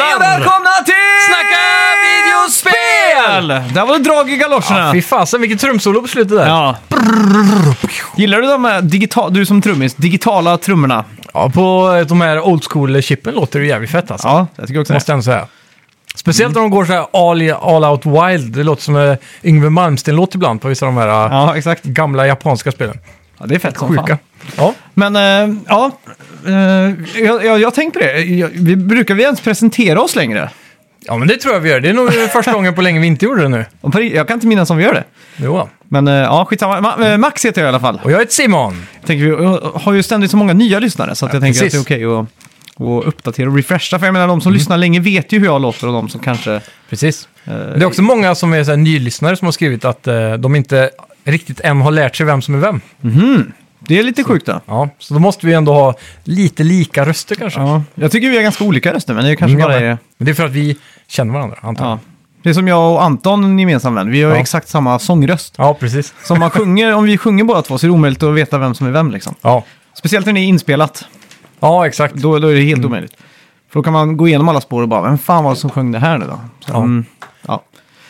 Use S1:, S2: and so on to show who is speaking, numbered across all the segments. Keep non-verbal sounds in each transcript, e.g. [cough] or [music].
S1: Välkomna till
S2: Snacka videospel!
S1: Där var det drag i galoscherna.
S2: Fy fasen, vilket trumsolo på slutet där.
S1: Ja. Gillar du de här digitala, du som trummis, digitala trummorna?
S2: Ja, på eh, de här old school-chippen låter det jävligt fett alltså.
S1: Ja, jag tycker också
S2: Måste jag ändå säga. Speciellt när de går så här all, all out wild. Det låter som en Yngwie Malmsteen-låt ibland på vissa av de här äh,
S1: Ja, exakt.
S2: gamla japanska spelen.
S1: Ja, det är fett som
S2: Sjuka.
S1: fan.
S2: Ja.
S1: Men eh, ja, eh, jag, jag, jag tänkte det. Jag, vi, brukar vi ens presentera oss längre?
S2: ja, men det tror jag vi gör. Det är nog eh, första gången på länge vi inte gjorde det nu.
S1: Och på- Jag kan inte minnas om vi gör det.
S2: Jo.
S1: Men eh, ja, skitsamma. Ma, eh, Max heter jag i alla fall.
S2: Och jag heter Simon.
S1: Tänker vi jag har ju ständigt så många nya lyssnare så att jag tänker
S2: precis. Mm.
S1: att det är okej att, att uppdatera och refresha. För jag menar, de som lyssnar länge vet ju hur jag låter och de som kanske... eh,
S2: Precis. det är också många som är så här, nylyssnare som har skrivit att eh, de inte riktigt än har lärt sig vem som är vem.
S1: Det är lite sjukt då.
S2: Ja, så då måste vi ändå ha lite lika röster kanske.
S1: Ja, jag tycker vi är ganska olika röster, men det är ju kanske
S2: Mm,
S1: bara
S2: ja,
S1: är...
S2: men- Men det är för att vi känner varandra, antar jag.
S1: Ja. Det är som jag och Anton, en gemensam vän. Vi har ju
S2: Ja.
S1: exakt samma sångröst.
S2: Ja, precis.
S1: Så
S2: [laughs]
S1: om, man sjunger, om vi sjunger båda två så är det omöjligt att veta vem som är vem. Liksom.
S2: Ja,
S1: Speciellt när det är inspelat.
S2: ja exakt.
S1: Då, då är det helt
S2: Mm.
S1: omöjligt. För då kan man gå igenom alla spår och bara, vem fan var det som sjöng det här nu då? Så,
S2: Ja.
S1: mm, ja.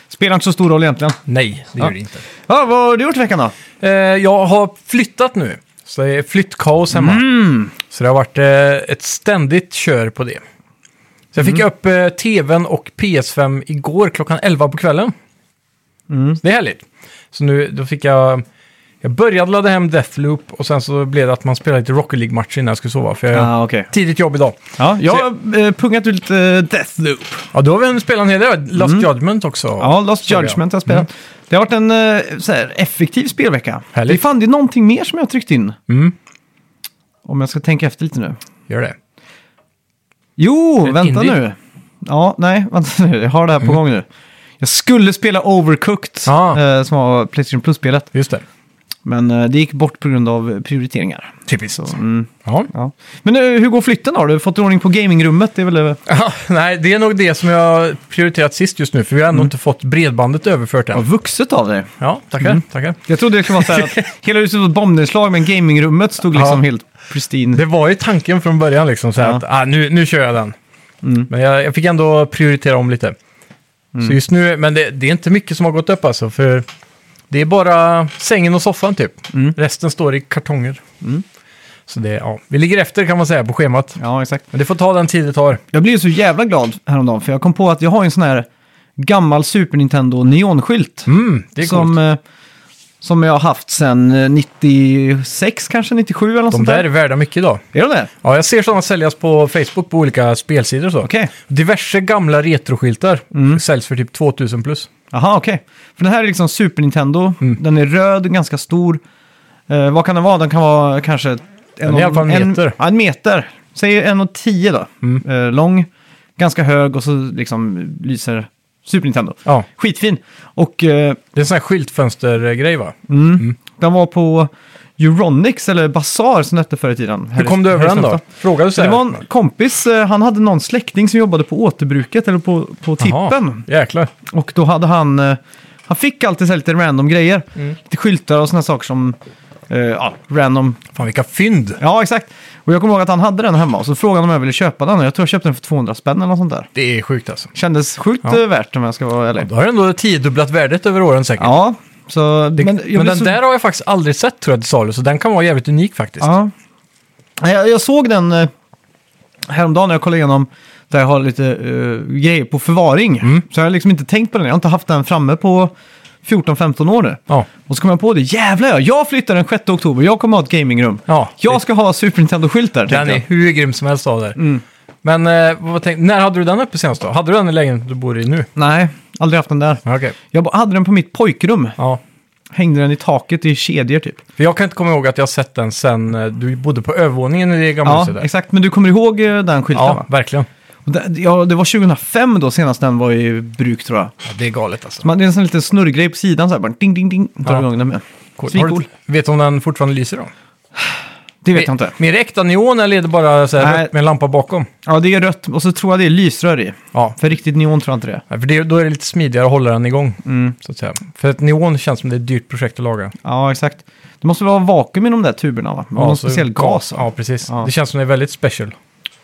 S1: Spelar inte så stor roll egentligen.
S2: Nej, det
S1: Ja.
S2: gör det inte.
S1: Ja, vad har du gjort i veckan då?
S2: Eh, jag har flyttat nu, så det är flyttkaos hemma.
S1: Mm.
S2: Så det har varit eh, ett ständigt kör på det. Så jag fick
S1: Mm.
S2: upp eh, tvn och PS5 igår klockan 11 på kvällen.
S1: Mm.
S2: Så det är härligt. Så nu då fick jag... Jag började ladda hem Deathloop och sen så blev det att man spelade lite Rocket League-matcher innan jag skulle sova. För jag har
S1: okej.
S2: tidigt jobb idag.
S1: Ja, jag har eh, pungat ut eh, Deathloop.
S2: Ja, då har vi en spelat en hel del. Last Judgment också.
S1: Mm. Ja, Lost
S2: Så jag.
S1: Judgment har jag spelat. Det har varit en eh, så här, effektiv spelvecka.
S2: Mm. Härligt.
S1: Det fann det är någonting mer som jag har tryckt in.
S2: Mm.
S1: Om jag ska tänka efter lite nu.
S2: Gör det.
S1: Jo,
S2: Ett
S1: vänta
S2: indie. Mm.
S1: nu. Ja, nej, [laughs] vänta nu. Jag har det här på gång nu. Jag skulle spela Overcooked,
S2: Ah.
S1: eh, som var Playstation Plus-spelet.
S2: Just det.
S1: Men eh, det gick bort på grund av prioriteringar.
S2: Typiskt.
S1: Mm,
S2: Ja. [laughs]
S1: ja. Men eh, hur går flytten då? Har du fått ordning på gamingrummet? Det är väl... eh,
S2: Ja, nej, det är nog det som jag prioriterat sist just nu, för vi har ändå inte fått bredbandet överfört
S1: Mm. Ja, Mm.
S2: än.
S1: vuxet av dig.
S2: Ja, tackar. tackar.
S1: Jag trodde det skulle vara så här att
S2: [laughs]
S1: hela huset var ett bombnedslag, men gamingrummet stod liksom
S2: Ja.
S1: helt pristine.
S2: Det var ju tanken från början, liksom, så här
S1: Ja. Mm.
S2: att ah, nu, nu kör jag den. Men jag, jag fick ändå prioritera om lite. Så just nu, men det, det är inte mycket som har gått upp alltså, för det är bara sängen och soffan typ.
S1: Mm.
S2: Resten står i kartonger. Så det, ja, vi ligger efter kan man säga på schemat.
S1: Ja, exakt.
S2: Men det får ta den tid det tar.
S1: Jag blev ju så jävla glad häromdagen för jag kom på att jag har en sån här gammal Super Nintendo neonskylt.
S2: Mm, det är coolt.
S1: som, eh, som jag har haft sedan eh, 96, kanske 97 eller något
S2: De
S1: sånt
S2: där är värda mycket idag.
S1: Är de det?
S2: Ja, jag ser sådana säljas på Facebook på olika spelsidor och så.
S1: Okej. Mm.
S2: Diverse gamla retroskyltar säljs för typ 2000 plus.
S1: Jaha, okej. För den här är liksom Super Nintendo.
S2: Mm.
S1: Den är röd, ganska stor. Eh, vad kan den vara? Den kan vara kanske... En
S2: är
S1: och-
S2: i alla fall en meter. Mm.
S1: Ja, en meter. Säg en och tio då. Eh, lång, ganska hög och så liksom lyser Super Nintendo.
S2: Ja,
S1: Skitfin. Och... Eh,
S2: det är en sån här skyltfönstergrej va?
S1: Den var på Euronics, eller Bazaar som det hette förr i tiden.
S2: Hur kom du över den då? Frågade du så
S1: Det
S2: här?
S1: var en kompis, eh, han hade någon släkting som jobbade på återbruket, eller på, på
S2: Jaha,
S1: tippen.
S2: Jäklar.
S1: Och då hade han, eh, han fick alltid så här lite random grejer.
S2: Mm.
S1: Lite skyltar och sådana saker som, eh, ja, random.
S2: Fan vilka fynd.
S1: Ja, exakt. Och jag kommer ihåg att han hade den hemma, och så frågade han om jag ville köpa den. Och jag tror jag köpte den för 200 spänn eller något sånt där.
S2: Det är sjukt alltså.
S1: Kändes sjukt
S2: Ja.
S1: eh, värt om jag ska vara ärlig.
S2: Då har du ändå tiodubblat värdet över åren säkert.
S1: Ja, så...
S2: Det, men
S1: jag blev
S2: den
S1: så-
S2: där har jag faktiskt aldrig sett tror jag till salu, så den kan vara jävligt unik faktiskt.
S1: Ja. Nej, Jag, jag såg den eh, häromdagen när jag kollade igenom där jag har lite eh, grejer på förvaring.
S2: Mm.
S1: Så jag har liksom inte tänkt på den. Jag har inte haft den framme på 14-15 år nu.
S2: Ja.
S1: Och så kom jag på det. Jävlar ja, jag flyttar den 6 oktober. Jag kommer ha ett gamingrum.
S2: Ja,
S1: jag ska ha Super Nintendo-skyltar.
S2: Den
S1: tänkte
S2: är
S1: jag. Mm.
S2: hur grym som helst av där. Men eh, vad tänkte, när hade du den uppe senast då? Hade du den i lägenheten du bor i nu?
S1: Nej, aldrig haft den där.
S2: Okej.
S1: Jag bara hade den på mitt pojkrum.
S2: Ja.
S1: Hängde den i taket i kedjor typ.
S2: För jag kan inte komma ihåg att jag har sett den sen eh, du bodde på övervåningen i det gamla
S1: Ja,
S2: huset där.
S1: exakt. Men du kommer ihåg eh, den skylten
S2: Ja,
S1: va?
S2: verkligen.
S1: Och det, ja, det var 2005 då senast den var i bruk tror jag.
S2: Ja, det är galet alltså.
S1: Man, det är en sån liten snurrgrej på sidan så här, bara ding, ding, ding, tar
S2: Ja.
S1: igång den med.
S2: Cool.
S1: Svincool.
S2: Har du- Vet du om den fortfarande lyser då?
S1: Det vet jag inte.
S2: Mer äkta neon eller är det bara så här
S1: Nej.
S2: rött med en lampa bakom?
S1: Ja, det är rött och så tror jag det är lysrör i.
S2: Ja,
S1: För riktigt neon tror jag inte det är. Mm.
S2: för det, då är det lite smidigare att hålla den igång. Så att säga. För att neon känns som det är ett dyrt projekt att laga.
S1: Ja, exakt. Det måste vara vakuum i de där tuberna va? Ja, någon
S2: så-
S1: speciell gas. va?
S2: Ja, precis.
S1: Ja.
S2: Det känns som det är väldigt special.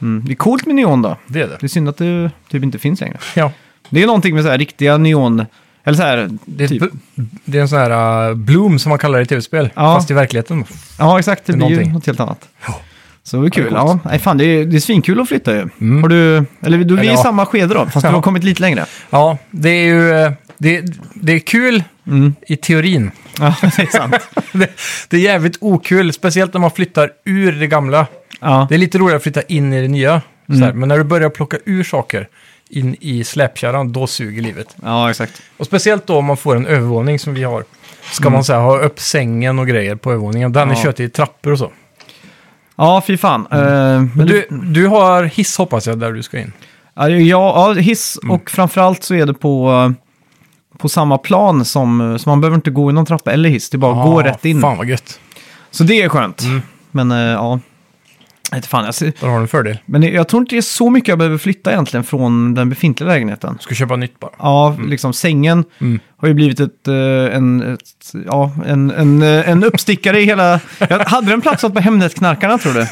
S1: Mm. Det är coolt med neon då.
S2: Det är det.
S1: Det är synd att det typ inte finns längre.
S2: Ja.
S1: Det är någonting med så här riktiga neon... Eller så här...
S2: Det är,
S1: typ.
S2: ett bu- det är en sån här uh, bloom som man kallar det i tv-spel,
S1: Ja.
S2: fast i verkligheten.
S1: Ja, exakt. Det,
S2: Det är
S1: blir ju
S2: någonting.
S1: något helt annat.
S2: Ja.
S1: Så det är kul.
S2: det är
S1: Ja,
S2: coolt. Mm.
S1: nej, fan, det, är, det är svinkul att flytta ju. Har du, eller du, vi är i
S2: ja.
S1: samma skede då, fast du
S2: Ja.
S1: har kommit lite längre.
S2: Ja, det är ju eh, det, det är kul
S1: Mm.
S2: i teorin.
S1: Ja, [laughs] det är sant.
S2: [laughs] det, det är jävligt okul, speciellt när man flyttar ur det gamla.
S1: Ja,
S2: Det är lite roligare att flytta in i det nya. Så
S1: Mm.
S2: här. Men när du börjar plocka ur saker in i släpkärran, då suger livet.
S1: ja exakt.
S2: Och speciellt då om man får en övervåning som vi har. Ska man så här, ha upp sängen och grejer på övervåningen. Den
S1: Mm. Ja.
S2: är köttig i trappor och så.
S1: Ja, fy fan. Eh, men
S2: Mm. Du, du har hiss hoppas jag där du ska in.
S1: Ja, ja, hiss
S2: Mm.
S1: och framförallt så är det på, eh, på samma plan som, eh, så man behöver inte gå i någon trappa eller hiss, det är bara att gå
S2: Ah,
S1: rätt in.
S2: Fan Mm. vad gött.
S1: Så det är skönt. Men eh, ja, jag vet fan. Jag ser,
S2: Där har du en fördel.
S1: men jag tror inte det är så mycket jag behöver flytta egentligen från den befintliga lägenheten.
S2: Ska köpa nytt bara.
S1: Ja, liksom sängen
S2: Mm.
S1: har ju blivit ett, eh, en, ett, ja, en, en, eh, en uppstickare i hela... Jag hade den platsat på Hemnetknarkarna tror du?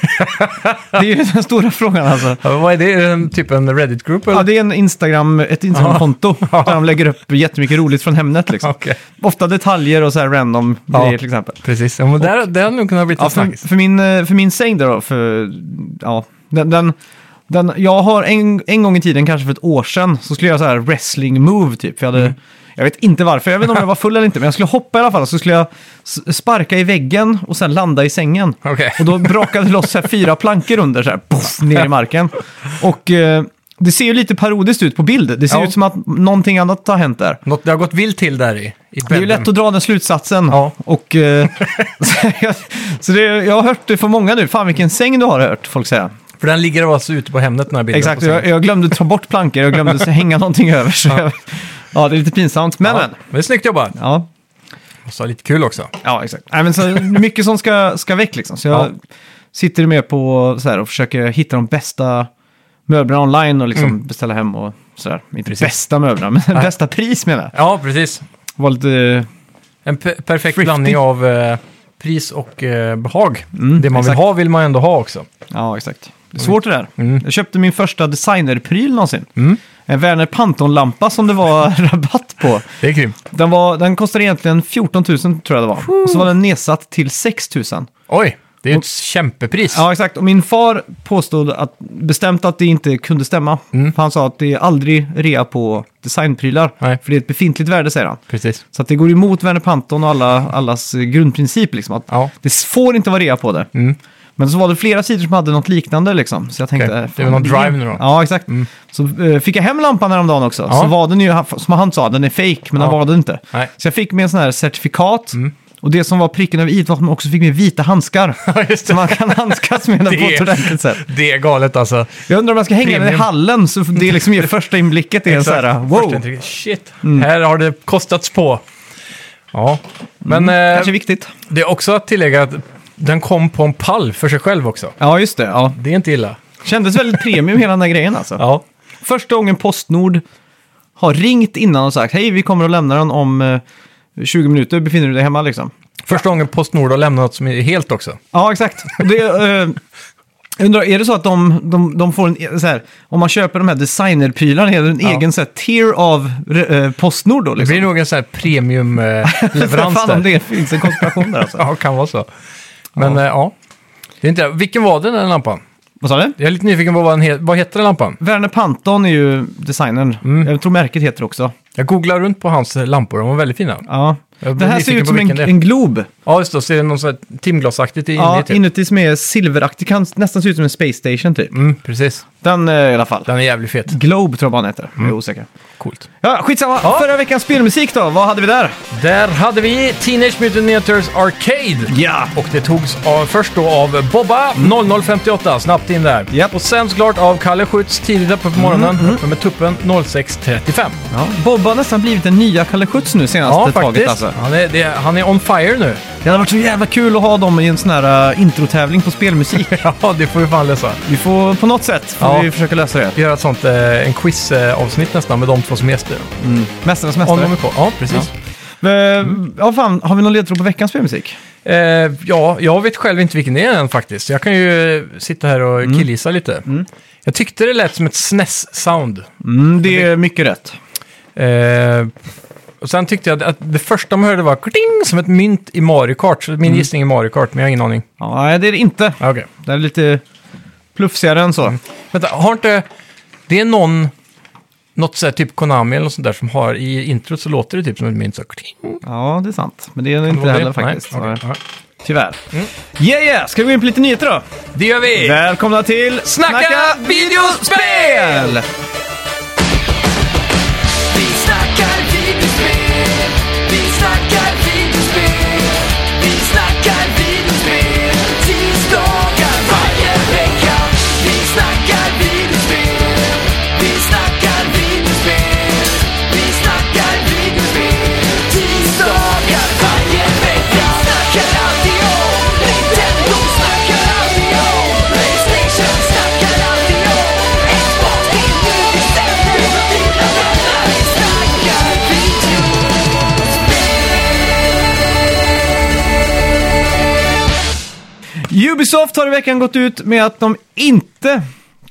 S1: Det är ju den stora frågan alltså.
S2: Ja, vad är det? Är det en- Typ en Reddit-grupp eller?
S1: Ja, det är en Instagram, ett Instagram-konto där de lägger upp jättemycket roligt från Hemnet. Liksom.
S2: Okej.
S1: Ofta detaljer och så här random
S2: Ja.
S1: grejer till exempel.
S2: Precis, ja, men där, där hade nog kunnat bli
S1: Ja,
S2: en
S1: för,
S2: snackis.
S1: för, min, eh, för min säng där då, för, ja, den, den, den, jag har en, en gång i tiden, kanske för ett år sedan, så skulle jag göra så här wrestling move typ. För jag, hade, jag vet inte varför, jag vet inte om jag var full eller inte, men jag skulle hoppa i alla fall. Så skulle jag s- sparka i väggen och sen landa i sängen.
S2: Okej.
S1: Och då brakade det loss så här fyra plankor under, så här, puff, ner i marken. Och eh, det ser ju lite parodiskt ut på bild. Det ser
S2: Ja.
S1: ut som att någonting annat har hänt där.
S2: Något det har gått vilt till där i, i
S1: Det är ju lätt att dra den slutsatsen.
S2: Ja.
S1: Och, eh, [laughs] så jag, så det, jag har hört det från många nu. Fan vilken säng du har har jag hört folk säga.
S2: För den ligger alltså ute på Hemnet den här bilden.
S1: Exakt,
S2: på sängen.
S1: jag, jag glömde ta bort plankor. Jag glömde
S2: [laughs]
S1: så hänga någonting över. Så ja. Jag, ja, det är lite pinsamt. Men,
S2: Ja,
S1: men.
S2: men det är snyggt jobbat.
S1: Ja,
S2: Måste ha lite kul också.
S1: ja exakt. Nej, men så, det är mycket som ska, ska väck liksom. Så jag
S2: Ja.
S1: sitter med på så här, och försöker hitta de bästa möblerna online och liksom
S2: Mm.
S1: beställa hem och sådär. Inte
S2: Precis.
S1: bästa möblerna, men bästa pris menar jag.
S2: Ja, precis.
S1: Var lite...
S2: En pe- perfekt
S1: Thrifty.
S2: blandning av eh, pris och eh, behag. det man
S1: exakt.
S2: vill ha vill man ändå ha också.
S1: Ja, exakt. Det är svårt det där.
S2: Mm.
S1: Jag köpte min första designerpryl någonsin. En Werner Panton-lampa som det var [laughs] rabatt på.
S2: Det är grymt.
S1: Den, var, den kostade egentligen 14 000 tror jag det var. Och så var den nedsatt till 6 000.
S2: Oj, det är ju ett kämpepris.
S1: Ja, exakt. Och min far påstod att, bestämt att det inte kunde stämma.
S2: Mm.
S1: För han sa att det är aldrig rea på designprylar.
S2: Nej.
S1: För det är ett befintligt värde, säger han.
S2: Precis.
S1: Så att det går emot Werner Panton och alla, allas eh, grundprincip. Liksom, att
S2: Ja.
S1: Det får inte vara rea på det.
S2: Mm.
S1: Men så var det flera sidor som hade något liknande. Liksom. Så jag tänkte,
S2: Okej.
S1: eh,
S2: Det var någon drive nu då. Mm.
S1: Ja, exakt. Så eh, fick jag hem lampan häromdagen också.
S2: Ja.
S1: Så var den ju, som han sa, den är fake, men den
S2: Ja.
S1: var den inte.
S2: Nej. Mm.
S1: Så jag fick med en sån här certifikat. Och det som var pricken över i var att man också fick med
S2: [laughs]
S1: vita handskar.
S2: just
S1: så man kan handskas med den på
S2: Det-
S1: ett
S2: [laughs]
S1: ordentligt sätt.
S2: Det är galet alltså.
S1: Jag undrar om jag ska hänga den i
S2: Premium.
S1: hallen, så det liksom ger första inblicket. Det är så här,
S2: Första
S1: wow, Mm.
S2: intrycket, Shit, här har det kostats på. Ja, men eh,
S1: Mm, kanske viktigt.
S2: det är också att tillägga att den kom på en pall för sig själv också.
S1: Ja, just det. Ja.
S2: Det är inte illa.
S1: Kändes väldigt premium hela den här grejen alltså.
S2: Ja,
S1: Första gången Postnord har ringt innan och sagt hej, vi kommer att lämna den om eh, 20 minuter, befinner du dig hemma liksom?
S2: Första gången Postnord har lämnat något som är helt också.
S1: Ja, exakt. Och Det, eh, jag undrar, är det så att de, de, de får en, e- så här, om man köper de här designerprylarna, är det en
S2: Ja.
S1: egen så här, tier av eh, Postnord då?
S2: Det
S1: Liksom?
S2: blir nog en sån här premiumleverans
S1: [laughs] Fan om
S2: där.
S1: det finns en konspiration där
S2: [laughs]
S1: alltså.
S2: Ja, kan vara så. Men ja. Eh, ja. Det är inte, vilken var den där lampan?
S1: Vad sa du?
S2: Jag är lite nyfiken på vad den heter. Vad heter den lampan?
S1: Werner Panton är ju designern.
S2: Mm.
S1: Jag tror märket heter det också.
S2: Jag googlar runt på hans eh, lampor, de var väldigt fina.
S1: Ja.
S2: Jag
S1: Det
S2: blir
S1: här ser
S2: nyfiken
S1: ut
S2: på
S1: som en,
S2: vilken det är.
S1: en glob.
S2: Ja, just det. Så är det någon sån här timglasaktigt i
S1: Ja,
S2: ja, typ.
S1: inuti som är silveraktig, kan nästan se ut som en space station typ.
S2: Mm, precis.
S1: Den eh, i alla fall.
S2: Den är jävligt fet.
S1: Globe tror jag man heter. Jag är osäker.
S2: Coolt.
S1: Ja, skitsamma. Förra veckans spelmusik då, vad hade vi där?
S2: Där hade vi Teenage Mutant Ninja Turtles Arcade.
S1: Ja.
S2: Och det togs av, först då av Bobba 0058, snabbt in där.
S1: Japp.
S2: Och sen såklart av Kalle Schütz, tidigt uppe på morgonen, uppe med tuppen 06.35.
S1: Ja. Bob har nästan blivit den nya Kalle Schütz nu senaste
S2: Ja,
S1: taget
S2: faktiskt.
S1: alltså.
S2: Han, Alltså, är, det, han är on fire nu.
S1: Det hade varit så jävla kul att ha dem i en sån här uh, introtävling på [laughs] spelmusik.
S2: [laughs] Ja, det får vi fan lösa.
S1: vi får på något sätt får
S2: Ja.
S1: vi försöka lösa det.
S2: Vi gör ett sånt, eh, en quiz-avsnitt nästan med de två som gäster.
S1: Mästarnas
S2: Om de
S1: mästare.
S2: är på. Ja, precis.
S1: Ja. Eh, ja, fan, har vi någon ledtråd på veckans spelmusik?
S2: Eh, ja, jag vet själv inte vilken det är än faktiskt. Jag kan ju sitta här och killgissa lite. Jag tyckte det lät som ett E SNES-sound.
S1: Mm, det är mycket rätt.
S2: Eh, och sen tyckte jag att det första man hörde var kling, som ett mynt i Mario Kart. Så min gissning är Mario Kart, men jag har ingen aning.
S1: Ja, nej, det är det inte.
S2: Ah, Okej.
S1: Det är lite plufsigare än så.
S2: Vänta, har inte... Det är någon... Något sådär typ Konami eller något sånt där som har i introt så låter det typ som ett mynt. Så kling.
S1: Ja, det är sant. Men det är det inte det heller faktiskt.
S2: Nej, okej,
S1: Nej. Mm.
S2: ja.
S1: Tyvärr. Yeah, yeah! Ska vi gå in på lite nyheter då?
S2: Det gör vi!
S1: Välkomna till
S2: Snacka videospel!
S1: videospel!
S3: Vi snackar videospel, vi snackar videospel, vi snackar videospel, tisdagar varje vecka. Vi snackar videospel, vi snackar videospel, vi snackar videospel, tisdagar varje vecka. Snackar alltid om Nintendo, snackar alltid om Playstation, snackar alltid om Xbox, det är nu vi sätter dina vänner. Vi snackar videospel.
S1: Ubisoft har i veckan gått ut med att de inte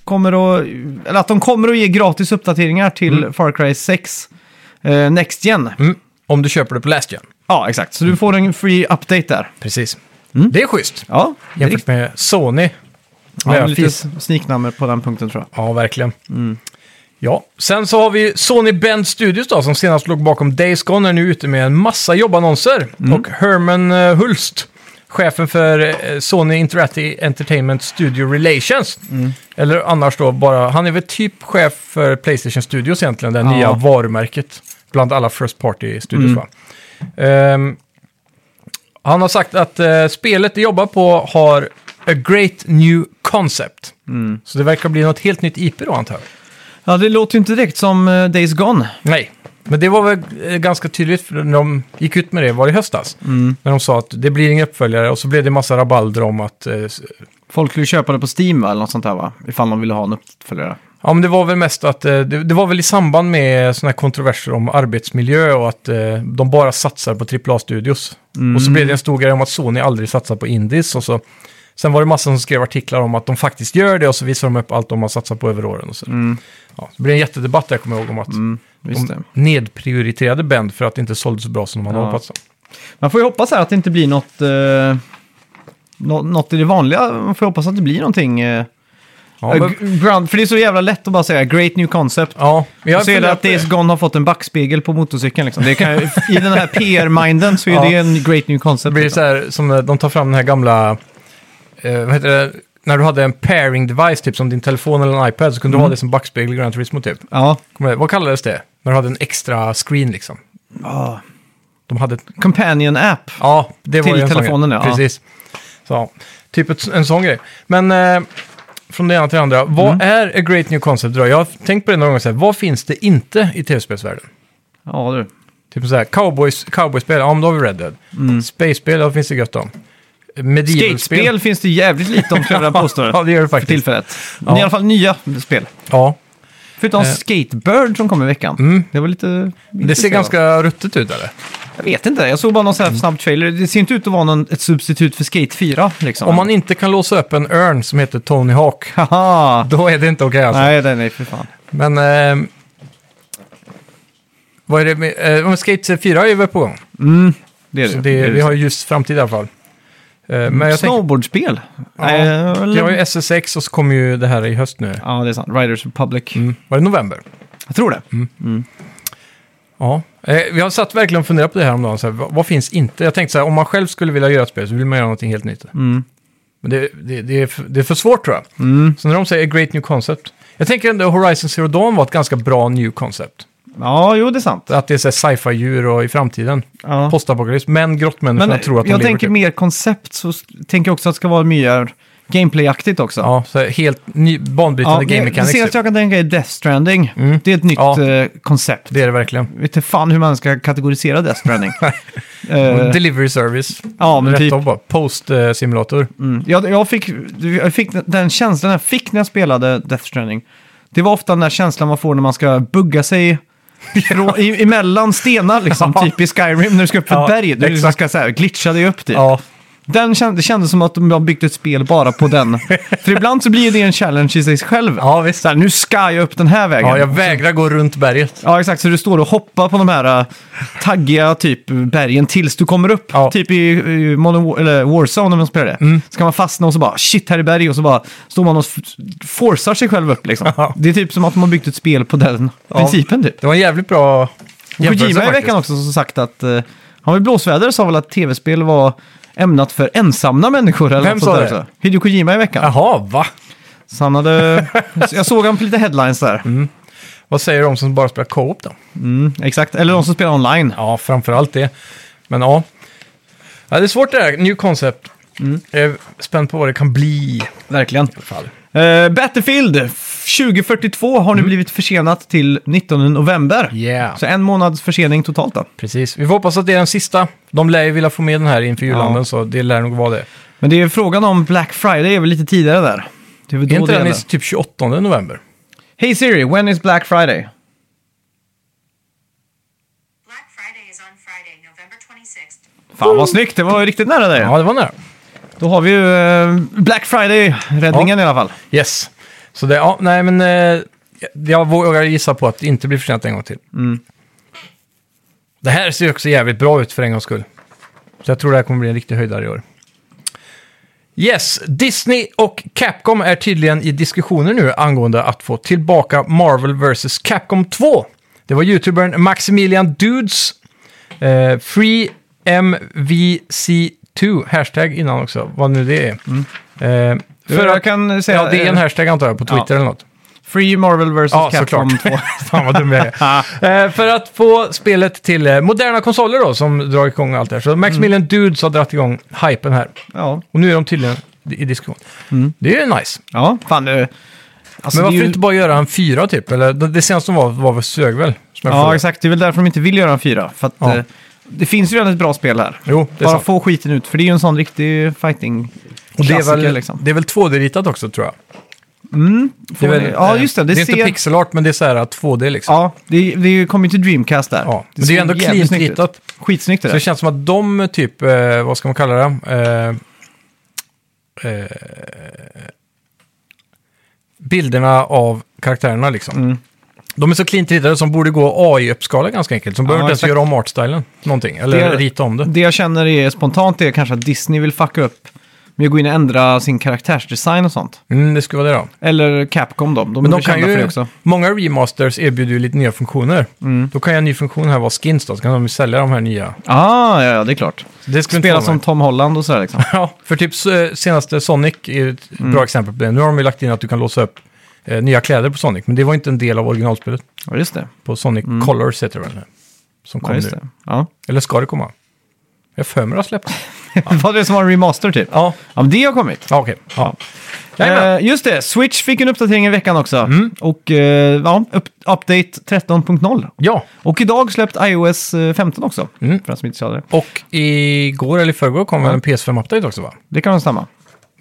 S1: kommer att, eller att de kommer att ge gratis uppdateringar till Far Cry 6 eh, Next Gen.
S2: Mm. Om du köper det på Last Gen.
S1: Ja, exakt. Så du får en free update där.
S2: Precis. Det är schysst.
S1: Ja, det är
S2: Jämfört med Sony.
S1: ja,
S2: Ja,
S1: lite
S2: fis-
S1: sniknamn på den punkten tror jag.
S2: ja verkligen. Ja, sen så har vi Sony Bend Studios då, som senast låg bakom Days Gone, är nu ute med en massa jobbannonser. Och Herman eh, Hulst, chefen för eh, Sony Interactive Entertainment Studio Relations. Eller annars då bara, han är väl typ chef för Playstation Studios egentligen, det
S1: Ja.
S2: nya varumärket. Bland alla First Party-studios va? Ehm, han har sagt att eh, spelet de jobbar på har a great new concept. Så det verkar bli något helt nytt IP då antar jag.
S1: Ja, det låter ju inte direkt som eh, Days Gone.
S2: Nej, men det var väl eh, ganska tydligt för när de gick ut med det, var det i höstas? När de sa att det blir ingen uppföljare och så blev det massa rabalder om att... eh, s-
S1: Folk skulle köpa det på Steam va, eller något sånt där va? Ifall de ville ha en uppföljare.
S2: Ja, men det var väl mest att eh, det, det var väl i samband med sådana här kontroverser om arbetsmiljö och att eh, de bara satsar på AAA-studios. Och så blev det en stor grej om att Sony aldrig satsar på indies och så. Sen var det massa som skrev artiklar om att de faktiskt gör det och så visar de upp allt de har satsat på över åren. Och så. Ja, det blev en jättedebatt där, jag kommer ihåg, om att
S1: Mm, Visst det.
S2: de nedprioriterade Bend för att det inte sålde så bra som de hade
S1: Ja.
S2: hoppats.
S1: Man får ju hoppas här att det inte blir något, eh, nå- något i det vanliga. Man får hoppas att det blir någonting. Eh,
S2: Ja, men,
S1: eh, grand, för det är så jävla lätt att bara säga great new concept.
S2: ja, men
S1: Jag
S2: jag
S1: så är det att
S2: funderar
S1: Days
S2: på
S1: Gone har fått en backspegel på motorcykeln. Liksom.
S2: [laughs]
S1: Det kan, I den här PR-minden så är
S2: Ja.
S1: det en great new concept.
S2: Det blir
S1: liksom.
S2: så här som när de tar fram den här gamla, eh, vad heter det, när du hade en pairing device, typ som din telefon eller en iPad, så kunde
S1: Mm.
S2: du ha det som backspegel i Gran Turismo typ.
S1: Ja.
S2: Kommer du ihåg- Vad kallades det? När du hade en extra screen liksom.
S1: Ja.
S2: De hade, ett-
S1: Companion app.
S2: ja, det var
S1: Till
S2: ju en sån
S1: telefonen,
S2: grej.
S1: ja.
S2: Precis. Så, ja. typ ett, en sån grej. Men eh, från det ena till det andra, vad
S1: Mm.
S2: är a great new concept då? Jag har tänkt på det några gånger, så här, vad finns det inte i tv-spelsvärlden?
S1: Ja, du.
S2: Typ så här, cowboys, cowboyspel, ja men då har vi Red Dead. Space-spel, ja, vad finns det gött om? Medievalspel.
S1: Mm. Skatespel finns det jävligt lite om, skulle jag vilja påstå.
S2: [laughs] Ja, det gör det
S1: För
S2: faktiskt.
S1: tillfället. Men i alla fall nya spel.
S2: Ja,
S1: Förutom
S2: Eh.
S1: Skatebird som kom i veckan.
S2: Mm.
S1: Det var lite...
S2: det ser ganska ruttet ut eller?
S1: Jag vet inte, jag såg bara någon sån här snabb trailer. Det ser inte ut att vara någon, ett substitut för Skate 4. Liksom.
S2: Om man inte kan låsa upp en örn som heter Tony Hawk,
S1: Haha!
S2: då är det inte okej alltså.
S1: Nej, nej, nej, för fan.
S2: Men... Eh, vad är det med... Eh, om Skate 4 är väl på gång.
S1: Mm, Det är liksom det.
S2: Så det, vi har ju just framtid i alla fall. Eh, men jag tänker...
S1: Snowboardspel?
S2: Ja,
S1: Nej, eller-
S2: Vi har ju SSX och så kommer ju det här i höst nu.
S1: Ja, det är sant. Riders Republic.
S2: Mm. Var det november?
S1: Jag tror det.
S2: Ja. Eh, vi har satt verkligen och funderat på det här om dagen. Så här, vad, vad finns inte? Jag tänkte så här, om man själv skulle vilja göra ett spel så vill man göra någonting helt nytt.
S1: Mm.
S2: Men det, det, det, är för, det är för svårt tror jag. Så när de säger great new concept. Jag tänker ändå Horizon Zero Dawn var ett ganska bra new concept.
S1: Ja, jo, det är sant.
S2: Att det är så här sci-fi-djur och i framtiden.
S1: Ja.
S2: Postapokalyps. Men grottmänniskorna
S1: Men
S2: tror att de
S1: jag
S2: lever.
S1: tänker
S2: typ.
S1: mer koncept, så s- tänker jag också att det ska vara mer gameplayaktigt också.
S2: Ja, så här, helt ny, banbrytande game
S1: det, det
S2: mechanics. typ. Mm.
S1: senaste jag kan tänka är Death Stranding. Det är ett nytt
S2: Ja.
S1: eh, koncept.
S2: Det är det verkligen.
S1: Jag vet inte fan hur man ska kategorisera
S2: [laughs]
S1: Death Stranding. Eh,
S2: Delivery service.
S1: ja, men
S2: Rätt
S1: typ.
S2: av bara. eh, Post-simulator.
S1: Mm. Jag, jag, fick, jag fick den känslan jag fick när jag spelade Death Stranding. Det var ofta den där känslan man får när man ska bugga sig
S2: [laughs]
S1: från, i, emellan stenar, liksom,
S2: Ja.
S1: typ i Skyrim när du ska upp för ett
S2: Ja,
S1: berg. Du liksom
S2: exakt.
S1: ska så här, glitcha dig upp dit.
S2: Ja,
S1: Den känd, det kändes som att de har byggt ett spel bara på den.
S2: [laughs]
S1: För ibland så blir det en challenge i sig själv.
S2: Ja, visst.
S1: Så här, nu ska jag upp den här vägen.
S2: Ja, jag vägrar gå runt berget.
S1: Ja, exakt. Så du står och hoppar på de här äh, taggiga typ bergen tills du kommer upp.
S2: Ja. Mm.
S1: Typ i, i Modern War, eller Warzone när man spelar det. Så kan man fastna och så bara shit, här är berg och så bara står man och f- forcar sig själv upp liksom.
S2: Ja.
S1: Det är typ som att man har byggt ett spel på den
S2: Ja.
S1: principen typ.
S2: Det var en jävligt bra jämförelse
S1: Kojima i
S2: faktiskt.
S1: veckan också som sagt att eh, han var i blåsväder sa väl att tv-spel var ämnat för ensamma människor. Eller
S2: Vem
S1: något sånt
S2: sa
S1: där
S2: det?
S1: också. Hideo Kojima i veckan.
S2: Jaha, va?
S1: Så han hade... jag såg han på lite headlines där.
S2: Mm. Vad säger de som bara spelar co-op då?
S1: Mm, exakt. Eller de som spelar online.
S2: Ja, framförallt det. Men ja. Mm. ja, det är svårt det här. New concept. Jag är spänd på vad det kan bli.
S1: Verkligen.
S2: Fall.
S1: Eh, Battlefield 2042 har nu blivit försenat till 19 november.
S2: Mm. Yeah.
S1: Så en månads försening totalt då.
S2: Precis. Vi får hoppas att det är den sista. De lär ju vilja få med den här inför julhandeln,
S1: Ja.
S2: så det lär nog vara det.
S1: Men det är frågan om Black Friday är väl lite tidigare där. Det är
S2: Är
S1: väl då
S2: inte
S1: det
S2: den i
S1: gäller.
S2: typ 28 november?
S1: Hey Siri, when is Black Friday?
S4: Black Friday is on Friday, November 26th.
S1: Fan vad snyggt, det var ju riktigt nära där.
S2: Ja, det var nära.
S1: Då har vi ju eh, Black Friday-räddningen i alla fall.
S2: Yes. Så det, ja, nej men... Eh, jag vågar gissa på att det inte blir försenat en gång till. Det här ser ju också jävligt bra ut för en gångs skull. Så jag tror det här kommer bli en riktig höjdare i år. Yes, Disney och Capcom är tydligen i diskussioner nu angående att få tillbaka Marvel vs. Capcom 2. Det var youtubern Maximilian Dudes, eh, FreeMVC2, hashtag innan också, vad nu det är. Eh,
S1: Mm. Du,
S2: för
S1: jag
S2: att-
S1: kan säga-
S2: Ja, det är en hashtag antar jag, på Twitter
S1: Ja.
S2: eller något.
S1: Free Marvel vs.
S2: Ja,
S1: Capcom
S2: [laughs]
S1: 2.
S2: såklart. Fan vad dum jag
S1: [laughs]
S2: är. Eh, För att få spelet till eh, moderna konsoler då, som drar igång allt det här. Så
S1: Mm.
S2: Maximilian Dudes har dragit igång hypen här.
S1: ja.
S2: Och nu är de tydligen i diskussion. Det är ju nice.
S1: ja, fan det...
S2: Men
S1: Alltså, Mm. det är
S2: varför
S1: ju-
S2: inte bara göra en fyra typ? Eller det det senaste som var, var väl Sögväl? Som jag
S1: Ja,
S2: förlorade.
S1: exakt. Det är väl därför de inte vill göra en fyra. För att,
S2: Ja.
S1: eh, det finns ju redan ett bra spel här.
S2: Jo, det är
S1: Bara
S2: sant.
S1: få skiten ut, för det är ju en sån riktig fighting
S2: Och det är väl,
S1: liksom.
S2: det är väl 2D-ritat också tror jag.
S1: Det
S2: är väl,
S1: ja,
S2: eh,
S1: just det. Det,
S2: det är
S1: ser...
S2: inte pixelart, men det är så här att 2D liksom.
S1: Ja, det, det kommer ju till Dreamcast där.
S2: Ja, men det är ju
S1: ser
S2: ändå
S1: jävligt
S2: cleant
S1: snyggt ut.
S2: ritat.
S1: Skitsnyggt det
S2: Så det
S1: där.
S2: känns som att de typ, eh, vad ska man kalla det? Eh, eh, bilderna av karaktärerna liksom.
S1: Mm.
S2: De är så cleant ritade som borde gå AI-uppskala ganska enkelt. Som behöver inte ens
S1: exakt.
S2: göra om artstylen någonting. Eller
S1: Det-
S2: rita om det.
S1: Det jag känner är spontant är kanske att Disney vill fucka upp med att gå in och ändra sin karaktärsdesign och sånt.
S2: Mm, det skulle vara det då.
S1: Eller Capcom då, de,
S2: Men
S1: de
S2: de
S1: är
S2: kan
S1: kända för det
S2: ju,
S1: också. Mm.
S2: många remasters erbjuder ju lite nya funktioner. Då kan ju en ny funktion här vara skins då, så kan de ju sälja de här nya.
S1: Ah, ja, ja, det är klart.
S2: Det skulle inte
S1: Spela
S2: vara
S1: som
S2: mig.
S1: Tom Holland och sådär liksom.
S2: Ja, för typ s- senaste Sonic är ju ett
S1: Mm.
S2: bra exempel på det. Nu har de ju lagt in att du kan låsa upp eh, nya kläder på Sonic, men det var inte en del av originalspelet.
S1: Ja, just det.
S2: På Sonic Colors heter det väl nu? Som
S1: Mm. Ja,
S2: kom
S1: just
S2: nu.
S1: det. Ja.
S2: Eller ska det komma? Jag har för mig att släppt.
S1: Var det som var en remaster typ?
S2: Ja,
S1: Ja, men det har kommit.
S2: ja okej. Ja. Jajamän. Mm.
S1: Eh, just det, Switch fick en uppdatering i veckan också. Och eh, ja, upp, update 13.0.
S2: ja,
S1: Och idag släppt iOS eh, 15 också.
S2: Mm.
S1: För den som inte sa det.
S2: och igår eller i förrgår kom väl en PS5-update också va?
S1: Det kan nog stämma.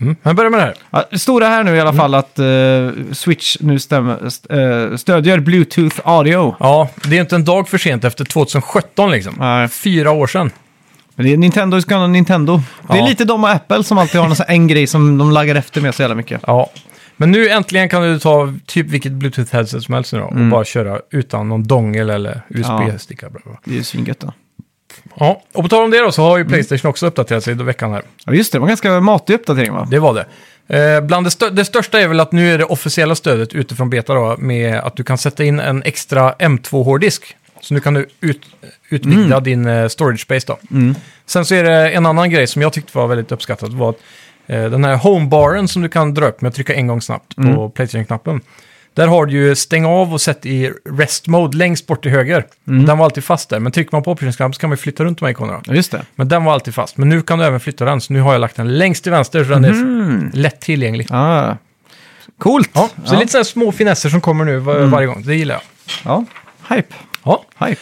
S2: Mm. Men börja med det här.
S1: Ja, det stora här nu i
S2: Mm.
S1: alla fall att eh, Switch nu stämmer, st- eh, stödjer Bluetooth Audio.
S2: Ja, det är inte en dag för sent efter 2017 liksom.
S1: Nej.
S2: Fyra år sedan.
S1: Men det är Nintendo ska ha Nintendo. Det
S2: Ja.
S1: är lite de och Apple som alltid har en, sån- en grej som de laggar efter med så jävla mycket.
S2: Ja, men nu äntligen kan du ta typ vilket Bluetooth headset som helst nu då, och bara köra utan någon dongel eller USB-sticka. bla, bla, bla.
S1: Det är ju svingött då.
S2: Ja, och på tal om det då så har ju Playstation också uppdaterat sig i veckan här.
S1: Ja, just det. Det var en ganska matig uppdatering va?
S2: Det var det. Eh, bland det, stö- det största är väl att nu är det officiella stödet utifrån beta då, med att du kan sätta in en extra M2-hårddisk. Så nu kan du ut, utvidga din eh, storage space då. Sen så är det en annan grej som jag tyckte var väldigt uppskattat var att eh, den här homebaren som du kan dra upp med att trycka en gång snabbt på Playstation-knappen. Där har du ju stäng av och sätt i rest mode längst bort till höger. Den var alltid fast där, men trycker man på optionsknappen så kan man ju flytta runt de här ikonerna.
S1: Ja, just det.
S2: Men den var alltid fast. Men nu kan du även flytta den, så nu har jag lagt den längst till vänster så den
S1: Mhm.
S2: är lätt tillgänglig.
S1: Ah. Coolt!
S2: Ja, så det är lite sådana små finesser som kommer nu var,
S1: Mm.
S2: varje gång. Det gillar jag.
S1: ja. Hype.
S2: Ja.
S1: Hype.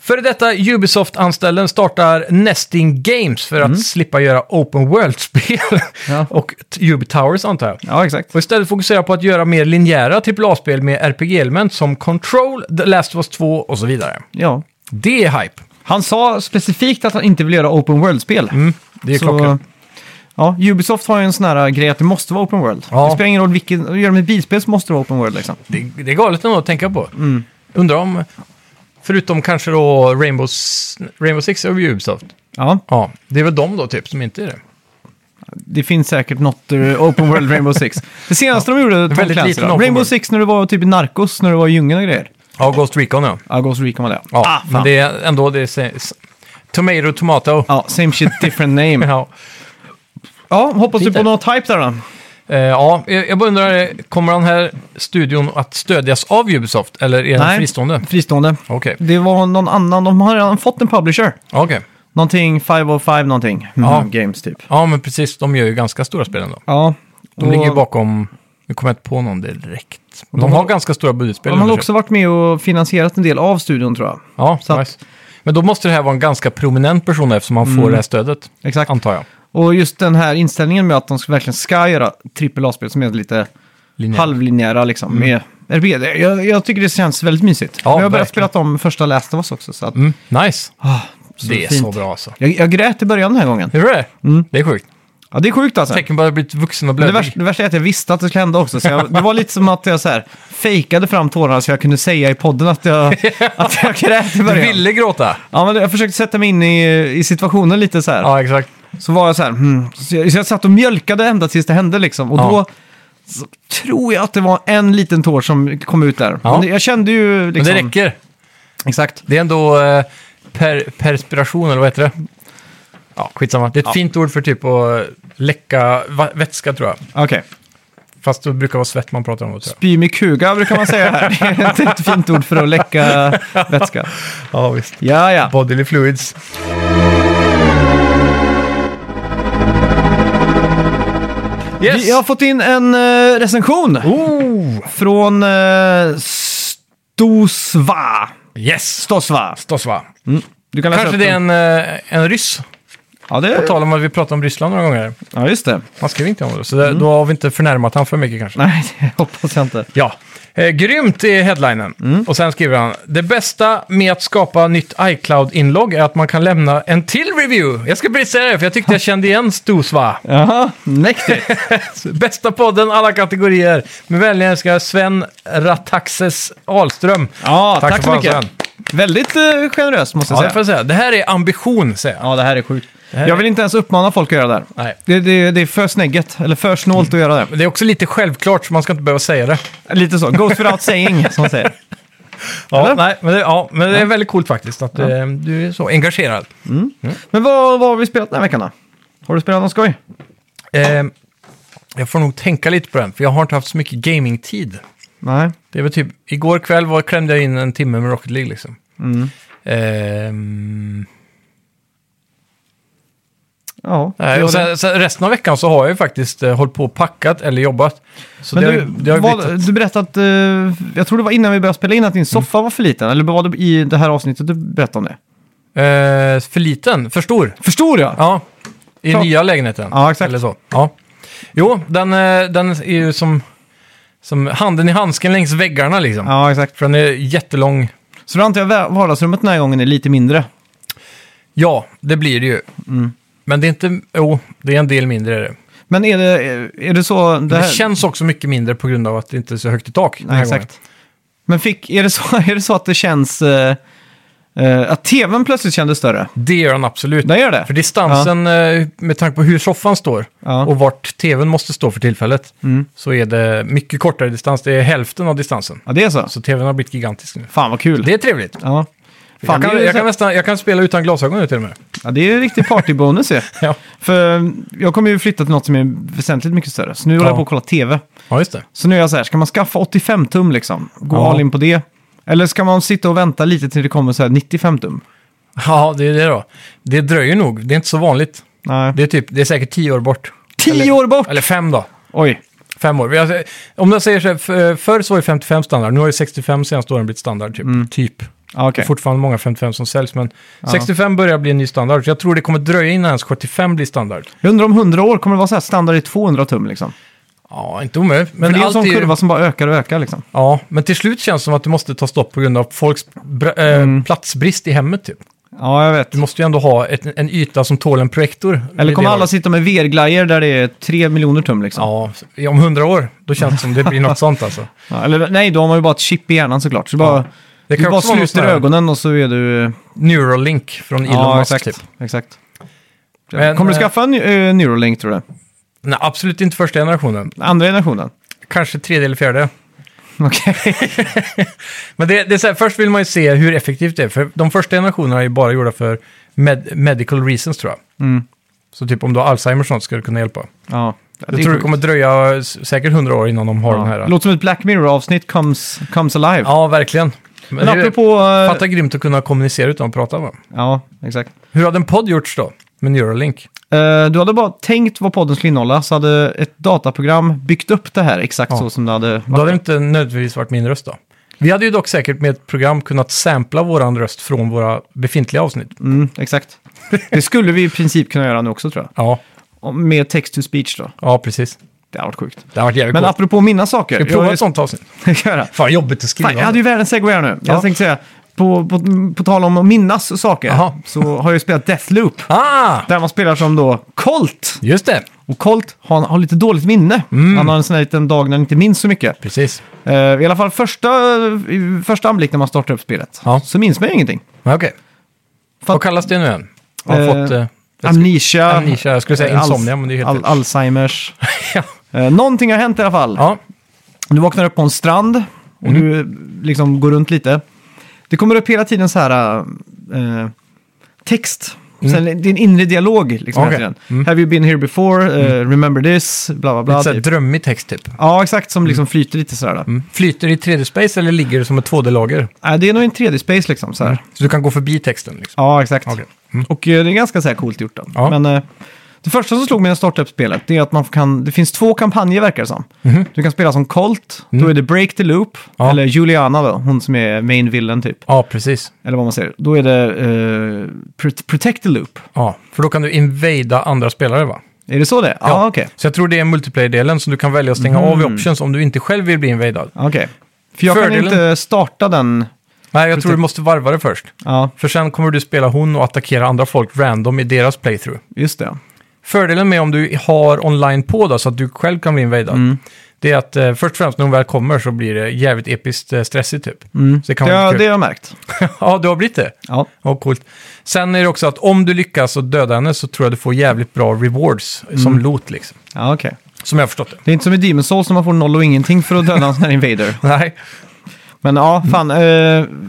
S2: Före detta Ubisoft-anställen startar Nesting Games för att slippa göra Open World-spel.
S1: Mm. [laughs] Ja.
S2: och t- Ubi Towers antar jag.
S1: Ja, exakt.
S2: Och istället fokusera på att göra mer linjära AAA-spel med RPG-element som Control, The Last of Us 2 och så vidare.
S1: Ja.
S2: Det är hype.
S1: Han sa specifikt att han inte vill göra open world-spel.
S2: Mm, det är
S1: Så
S2: klockrent.
S1: Ja, Ubisoft har ju en sån här eh, grej att det måste vara open world.
S2: Ja.
S1: Det spelar ingen roll vilken, gör de ett bilspel så måste det vara open world liksom.
S2: Det, det är galet ändå att tänka på. Undrar om, förutom kanske då Rainbow, S- Rainbow Six och Ubisoft.
S1: Ja,
S2: Ja, det är väl de då typ som inte är det.
S1: det finns säkert något eh,
S2: [laughs]
S1: open world Rainbow Six. Det senaste de gjorde, Tom
S2: väldigt
S1: Clancy,
S2: liten
S1: då.
S2: open
S1: Rainbow
S2: world.
S1: Six när det var typ i Narcos, när det var i djungeln och grejer.
S2: Ja, Ghost Recon ja.
S1: Ja, Ghost Recon var det.
S2: Ja,
S1: ah,
S2: men
S1: fan.
S2: det är ändå det är, se- s- Tomato, tomato.
S1: ja, same shit,
S2: [laughs]
S1: different name.
S2: Ja.
S1: Ja, hoppas du på
S2: Peter.
S1: något hype där då.
S2: Eh, ja, jag jag bara undrar, eh, kommer den här studion att stödjas av Ubisoft eller är den fristående?
S1: Fristående.
S2: Okej,
S1: Det var någon annan, de har redan fått en publisher.
S2: okej.
S1: Någonting 505 någonting.
S2: Ja.
S1: Mm, Games typ.
S2: Ja, men precis, de gör ju ganska stora spel ändå.
S1: Ja.
S2: De
S1: och-
S2: ligger ju bakom, nu kommer jag inte på någon direkt. De, har ganska stora budgetspel.
S1: De har
S2: under sig.
S1: också varit med och finansierat en del av studion tror jag.
S2: Ja,
S1: Så att-
S2: nice. Men då måste det här vara en ganska prominent person eftersom han får det här stödet,
S1: Mm. Exakt.
S2: antar jag.
S1: Och just den här inställningen med att de verkligen ska göra AAA-spel som är lite
S2: Linjär.
S1: halvlinjära liksom. Med RPG. Det- Jag, jag tycker det känns väldigt mysigt.
S2: Mm. Ja,
S1: jag har börjat
S2: verkligen.
S1: spela om första Last of Us också. Så att,
S2: Mm, nice.
S1: ah, så
S2: det är
S1: fint.
S2: så bra alltså.
S1: Jag, jag grät i början den här gången.
S2: Hur är det? Det är sjukt.
S1: Ja, det är sjukt alltså.
S2: Tecken på att jag blivit vuxen och
S1: Men
S2: blödig.
S1: det, värsta, det värsta är att jag visste att det skulle hända också. Så jag, det var lite som att jag så här, fejkade fram tårarna så jag kunde säga i podden att jag,
S2: [laughs]
S1: att jag grät i
S2: Du
S1: början.
S2: ville gråta.
S1: Ja, men jag försökte sätta mig in i, i situationen lite så här.
S2: Ja, exakt.
S1: Så var jag så här, hmm. så, jag, så jag satt och mjölkade ända tills det hände liksom. Och
S2: Ja.
S1: då så tror jag att det var en liten tår som kom ut där.
S2: Ja.
S1: Men det- jag kände ju
S2: Men
S1: liksom...
S2: det räcker.
S1: Exakt.
S2: Det är ändå eh, per, perspiration, eller vad heter det? Ja, skitsamma. Det är ett fint ord för typ att läcka va- vätska, tror jag.
S1: Okej.
S2: Fast det brukar vara svett man pratar om, då, tror
S1: Spy med kuga brukar man säga här. [laughs] det är inte ett fint ord för att läcka vätska.
S2: jag. Ja, visst.
S1: Ja, ja.
S2: Bodily fluids. Yes!
S1: Vi har fått in en eh, recension
S2: Oh.
S1: från eh, Stosva.
S2: Yes!
S1: Stosva.
S2: Stosva.
S1: Du kan läsa
S2: Kanske
S1: upp
S2: det är
S1: den.
S2: en, eh, en ryss.
S1: Ja,
S2: På
S1: det...
S2: tal om att vi pratade om Ryssland några gånger.
S1: ja, just det.
S2: Man skriver inte om det, så det, då har vi inte förnärmat han för mycket kanske.
S1: Mm. Nej, det hoppas jag inte.
S2: Ja, eh, grymt är headlinen.
S1: Mm.
S2: Och sen skriver han, det bästa med att skapa nytt iCloud-inlogg är att man kan lämna en till review. Jag ska precis säga det, för jag tyckte jag kände igen Stosva.
S1: Jaha,
S2: [laughs]
S1: mäktigt.
S2: Bästa podden, alla kategorier. Med vänliga önskningar Sven Rataxes Ahlström.
S1: Ja, tack, så
S2: fan,
S1: mycket.
S2: Sven.
S1: Väldigt eh, generös måste jag
S2: Ja, det
S1: säga.
S2: får jag säga. Det här är ambition, säger jag.
S1: Ja, det här är sjukt.
S2: här
S1: Jag
S2: är-
S1: vill inte ens uppmana folk att göra det här.
S2: Nej.
S1: Det, det, det är för snägget, eller för snålt
S2: [laughs]
S1: att göra
S2: Men det är också lite självklart, så man ska inte behöva säga det.
S1: det. Lite så, goes without saying, som man säger.
S2: Ja,
S1: Eller?
S2: nej, men det, ja, men det är väldigt coolt faktiskt att eh, du är så engagerad.
S1: Men vad, vad har vi spelat den här veckan då? Har du spelat något skoj?
S2: Eh, jag får nog tänka lite på den, för jag har inte haft så mycket gaming-tid.
S1: Nej.
S2: Det var typ, igår kväll var, klämde jag in en timme med Rocket League liksom. Ehm,
S1: Ja.
S2: nej,
S1: det
S2: och
S1: var det.
S2: sen, sen resten av veckan så har jag ju faktiskt eh, hållit på och packat eller jobbat. Så
S1: Men
S2: det,
S1: du,
S2: har, ju- det har ju
S1: vad-
S2: blivit...
S1: du berättade att, eh, jag tror det var innan vi började spela in, att din soffa var för liten. Eller var det i det här avsnittet du berättade om det?
S2: Eh, för liten, för stor.
S1: Förstår jag?
S2: Ja, i
S1: Ja.
S2: nya lägenheten.
S1: Ja, exakt.
S2: Eller så. Ja. Jo, den, eh, den är ju som, som handen i handsken längs väggarna liksom.
S1: Ja, exakt.
S2: För den är jättelång.
S1: Så då antar jag va- vardagsrummet den här gången är lite mindre.
S2: Ja, det blir det ju.
S1: Mm.
S2: Men det är inte, jo, det är en del mindre är det.
S1: Men är det, är det så... Det
S2: Det,
S1: här...
S2: känns också mycket mindre på grund av att det inte är så högt i tak. den
S1: Nej,
S2: här
S1: exakt.
S2: gången.
S1: Men fick, är, det så, [laughs] är det så att det känns... eh, eh, att tvn plötsligt kändes större?
S2: Det gör den absolut.
S1: Den gör det?
S2: För distansen, eh, med tanke på hur soffan står
S1: Ja. Mm.
S2: och vart tvn måste stå för tillfället, så är det mycket kortare distans. Det är hälften av distansen.
S1: Ja, det är så?
S2: Så tvn har blivit gigantisk nu.
S1: Fan vad kul.
S2: Det är trevligt.
S1: Ja. Fan,
S2: jag, kan,
S1: det, är ju
S2: jag,
S1: så-
S2: kan nästan, jag kan spela utan glasögon nu till och med.
S1: ja, det är ju riktig partybonus ju.
S2: [laughs] Ja,
S1: För eh, jag kommer ju flytta till något som är väsentligt mycket större. Så nu håller jag på att kolla tv.
S2: ja just
S1: [laughs]
S2: det.
S1: Så nu är jag så här, ska man skaffa 85 tum liksom? Gå
S2: Ja.
S1: all in på det. Eller ska man sitta och vänta lite till det kommer så här 95 tum?
S2: Ja, det är det då. Det dröjer nog. Det är inte så vanligt.
S1: Nej.
S2: Det är, typ, det är säkert tio år bort.
S1: Tio
S2: eller-
S1: år bort!
S2: Eller fem då.
S1: Oj.
S2: Fem år. Jag, om jag säger så här, f- förr så var det 55 standard, nu har ju 65 senaste åren blivit standard typ. typ. Det
S1: Ja, Mm. okej.
S2: är fortfarande många 55 som säljs, men 65 börjar bli en ny standard. Så jag tror det kommer dröja innan ens 75 blir standard.
S1: Jag undrar om 100 år, kommer det vara så här standard i 200 tum liksom?
S2: Ja, inte omöjligt. Men,
S1: För det är en
S2: allt
S1: sån
S2: är ju-
S1: kurva som bara ökar och ökar liksom. Mm.
S2: ja, men till slut känns det som att det måste ta stopp på grund av folks br- eh, platsbrist i hemmet typ.
S1: Ja, jag vet.
S2: Du måste ju ändå ha ett, en yta som tål en projektor.
S1: Eller
S2: Vid
S1: kommer
S2: det
S1: alla
S2: laget.
S1: sitta med VR-glajjor där det är tre miljoner tum liksom?
S2: Ja, om hundra år, då känns det som det blir något sånt alltså.
S1: Ja, eller nej, då har man ju bara ett chip i hjärnan såklart. Så bara,
S2: Det
S1: du
S2: kan
S1: bara
S2: också vara något
S1: sluter
S2: sånt här
S1: ögonen och så är du...
S2: Neuralink från Elon Musk
S1: exakt.
S2: typ.
S1: exakt.
S2: Men,
S1: kommer du
S2: eh,
S1: skaffa en eh, Neuralink tror du?
S2: Nej, absolut inte första generationen.
S1: Andra generationen? [laughs]
S2: Kanske tredje eller fjärde.
S1: Okej.
S2: Men det, det är så här, först vill man ju se hur effektivt det är. För de första generationerna är ju bara gjorda för med, medical reasons tror jag.
S1: Mm.
S2: Så typ om du har Alzheimer och sånt ska det kunna hjälpa.
S1: Ja. Det
S2: Jag
S1: är
S2: tror det
S1: sjukt.
S2: kommer dröja s- säkert hundra år innan de har den
S1: Ja.
S2: här.
S1: Låter som ett Black Mirror-avsnitt comes, comes alive.
S2: Ja, verkligen.
S1: Men
S2: Men det-
S1: apropå... eh,
S2: Fatta grymt att kunna kommunicera utan att prata va?
S1: Ja, exakt.
S2: Hur hade en podd gjorts då? Med Neuralink?
S1: Eh, du hade bara tänkt vad podden skulle innehålla, så hade ett dataprogram byggt upp det här exakt
S2: Ja.
S1: så som det hade
S2: Då hade det inte nödvändigtvis varit min röst då. Vi hade ju dock säkert med ett program kunnat sampla våran röst från våra befintliga avsnitt.
S1: Mm, exakt. Det skulle vi i princip kunna göra nu också tror jag.
S2: Ja,
S1: Om- Med text to speech då.
S2: ja precis.
S1: Det har varit sjukt.
S2: Det har varit jävligt
S1: Men
S2: coolt.
S1: apropå mina saker.
S2: Ska vi prova
S1: jag-
S2: ett
S1: [laughs]
S2: sånt avsnitt?
S1: göra.
S2: Fan, jobbigt att skriva.
S1: Fan, jag hade ju världens segway här nu.
S2: Ja.
S1: Jag tänkte säga, på, på, på tal om att minnas saker,
S2: Jaha.
S1: så har jag ju spelat Deathloop.
S2: Ah!
S1: Där man spelar som då Colt.
S2: Just det.
S1: Och Colt har, har lite dåligt minne.
S2: Mm.
S1: Han har en sån här liten dag när han inte minns så mycket.
S2: Precis.
S1: Eh, I alla fall första, i första anblick när man startar upp spelet.
S2: Ja.
S1: Så minns man ju ingenting.
S2: Ja, Okej.
S1: Fan.
S2: Vad kallas det nu än? Jag har
S1: Eh,
S2: fått... Eh,
S1: Amnesia.
S2: Amnesia, jag skulle säga
S1: eh,
S2: insomnia, men det är helt
S1: al
S2: rätt.
S1: Alzheimers.
S2: [laughs] ja.
S1: Eh, Någonting har hänt i alla fall.
S2: ja, Mm.
S1: Du vaknar upp på en strand och du liksom går runt lite. Det kommer upp hela tiden så här eh, text. Sen, det är en inre dialog liksom hela
S2: Mm. Okej. Mm.
S1: tiden. Have you been here before? Eh, remember this? Bla bla bla.
S2: lite såhär
S1: typ.
S2: drömmig text typ.
S1: Ja, exakt. Som liksom flyter lite sådär. Mm.
S2: Flyter i 3D-space eller ligger det som ett 2D-lager?
S1: det är nog en 3D-space liksom. Så här.
S2: Så du kan gå förbi texten liksom.
S1: Ja, exakt.
S2: Okej.
S1: Och eh, det är ganska så här coolt gjort. Då.
S2: Ja.
S1: Men eh, det första som slog mig när jag startade upp spelet det är att man kan, det finns två kampanjer verkar det som. Du kan spela som Colt, då är det Break the Loop,
S2: Ja.
S1: eller Juliana då, hon som är main villain typ.
S2: Ja, precis.
S1: Eller vad man säger. Då är det eh, Pro- Protect the Loop.
S2: Ja, för då kan du invada andra spelare va?
S1: Är det så det är? Ja, ah, okej. Mm.
S2: Så jag tror det är multiplayer-delen som du kan välja att stänga av i options om du inte själv vill bli invadad.
S1: Okej. För jag
S2: Fördelen-
S1: kan inte starta den.
S2: Nej, jag tror du måste varva det först.
S1: Ja,
S2: För sen kommer du spela hon och attackera andra folk random i deras playthrough.
S1: just det.
S2: Fördelen med om du har online på då, så att du själv kan bli invadad,
S1: Mm.
S2: det är att eh, först och främst när hon väl kommer så blir det jävligt episkt eh, stressigt typ. Så det kan
S1: Det,
S2: vara
S1: har-
S2: kul.
S1: Mm. det har jag märkt.
S2: ja, du har blivit det.
S1: Ja.
S2: Ja, coolt. Sen är det också att om du lyckas och döda henne så tror jag du får jävligt bra rewards
S1: Mm.
S2: som loot liksom.
S1: Ja, okej.
S2: Som jag har förstått det.
S1: Det är inte som i Demon's Souls när man får noll och ingenting för att döda en sån här invader.
S2: Nej.
S1: Men ja,
S2: Mm.
S1: fan. eh,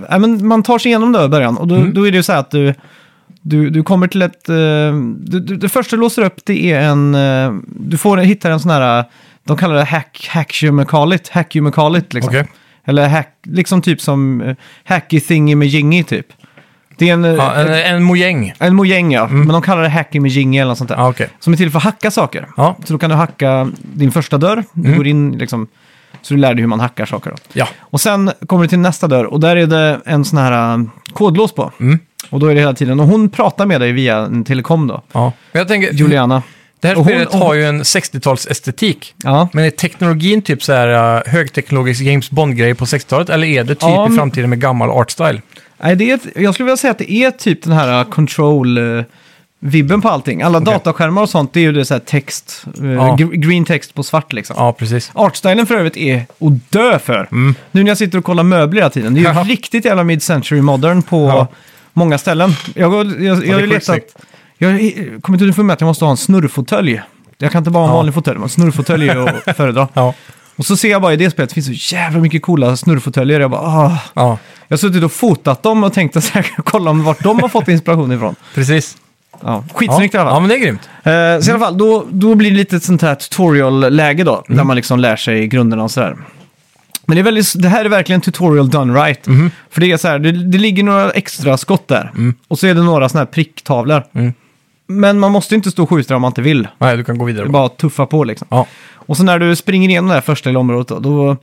S1: nej, men man tar sig igenom det i början och då, då är det ju så här att du, du, du kommer till ett... eh, du, du, det första du låser upp det är en... eh, du får hitta en sån här... eh, De kallar det hack, hackumukalit. Hackumukalit liksom.
S2: Okej.
S1: Eller hack, liksom typ som eh, hacky thingy med jingy typ. Det är en, eh,
S2: Ja, en, en mojäng.
S1: en mojäng ja, men de kallar det hacky med jingy eller något sånt där.
S2: Ja, okej.
S1: Som är till för att hacka saker.
S2: Ja. Mm.
S1: Så då kan du hacka din första dörr, du går in liksom, så du lär dig hur man hackar saker. Då.
S2: Ja.
S1: Och sen kommer du till nästa dörr och där är det en sån här äh, kodlås på. Och då är det hela tiden, och hon pratar med dig via en telekom då,
S2: ja. Men jag tänker,
S1: Juliana.
S2: det här
S1: Och hon-
S2: spelet har ju en 60-talsestetik.
S1: Ja.
S2: Men är teknologin typ så här eh, högteknologisk James Bond-grej på 60-talet? Eller är det typ
S1: Ja,
S2: i
S1: men-
S2: framtiden med gammal art style?
S1: Nej, det är, ett- jag skulle vilja säga att det är typ den här äh, control... äh, Vibben på allting. Alla dataskärmar och sånt, det är ju det så här text, äh,
S2: Ja.
S1: gr- green text på svart liksom.
S2: Ja, precis.
S1: Artstylen för övrigt är att dö för. Nu när jag sitter och kollar möbler hela tiden. Det är
S2: Mm. [laughs] Ja.
S1: ju riktigt jävla mid-century modern på
S2: Ja.
S1: många ställen. Jag, går- jag, jag har
S2: sjukt
S1: ju letat...
S2: snyggt.
S1: Jag har i- kommit underfund med att jag måste ha en snurrfåtölj. Jag kan inte bara ha en vanlig fåtölj, men snurrfåtölj är
S2: [laughs]
S1: att föredra.
S2: Ja.
S1: Och så ser jag bara i det spelet, det finns så jävla mycket coola snurrfåtöljer. Jag bara, ah.
S2: Ja,
S1: Jag har suttit och fotat dem och tänkt att så här, kolla om vart de har fått inspiration ifrån.
S2: precis.
S1: Ja.
S2: Ja.
S1: Skitsnyggt i alla fall.
S2: ja, men det är grymt.
S1: Eh, Så i alla fall, då, då blir det lite ett sånt här tutorial-läge då, där man liksom lär sig grunderna och sådär. Men det, är väldigt, det här är verkligen tutorial done right. För det är så här, det, det ligger några extra skott där. Och så är det några sådana här pricktavlor. Men man måste inte stå och skjuta om man inte vill.
S2: Nej, du kan gå vidare.
S1: Det är bara att tuffa på liksom.
S2: Ja,
S1: Och så när du springer igenom det här första lilla området då, då,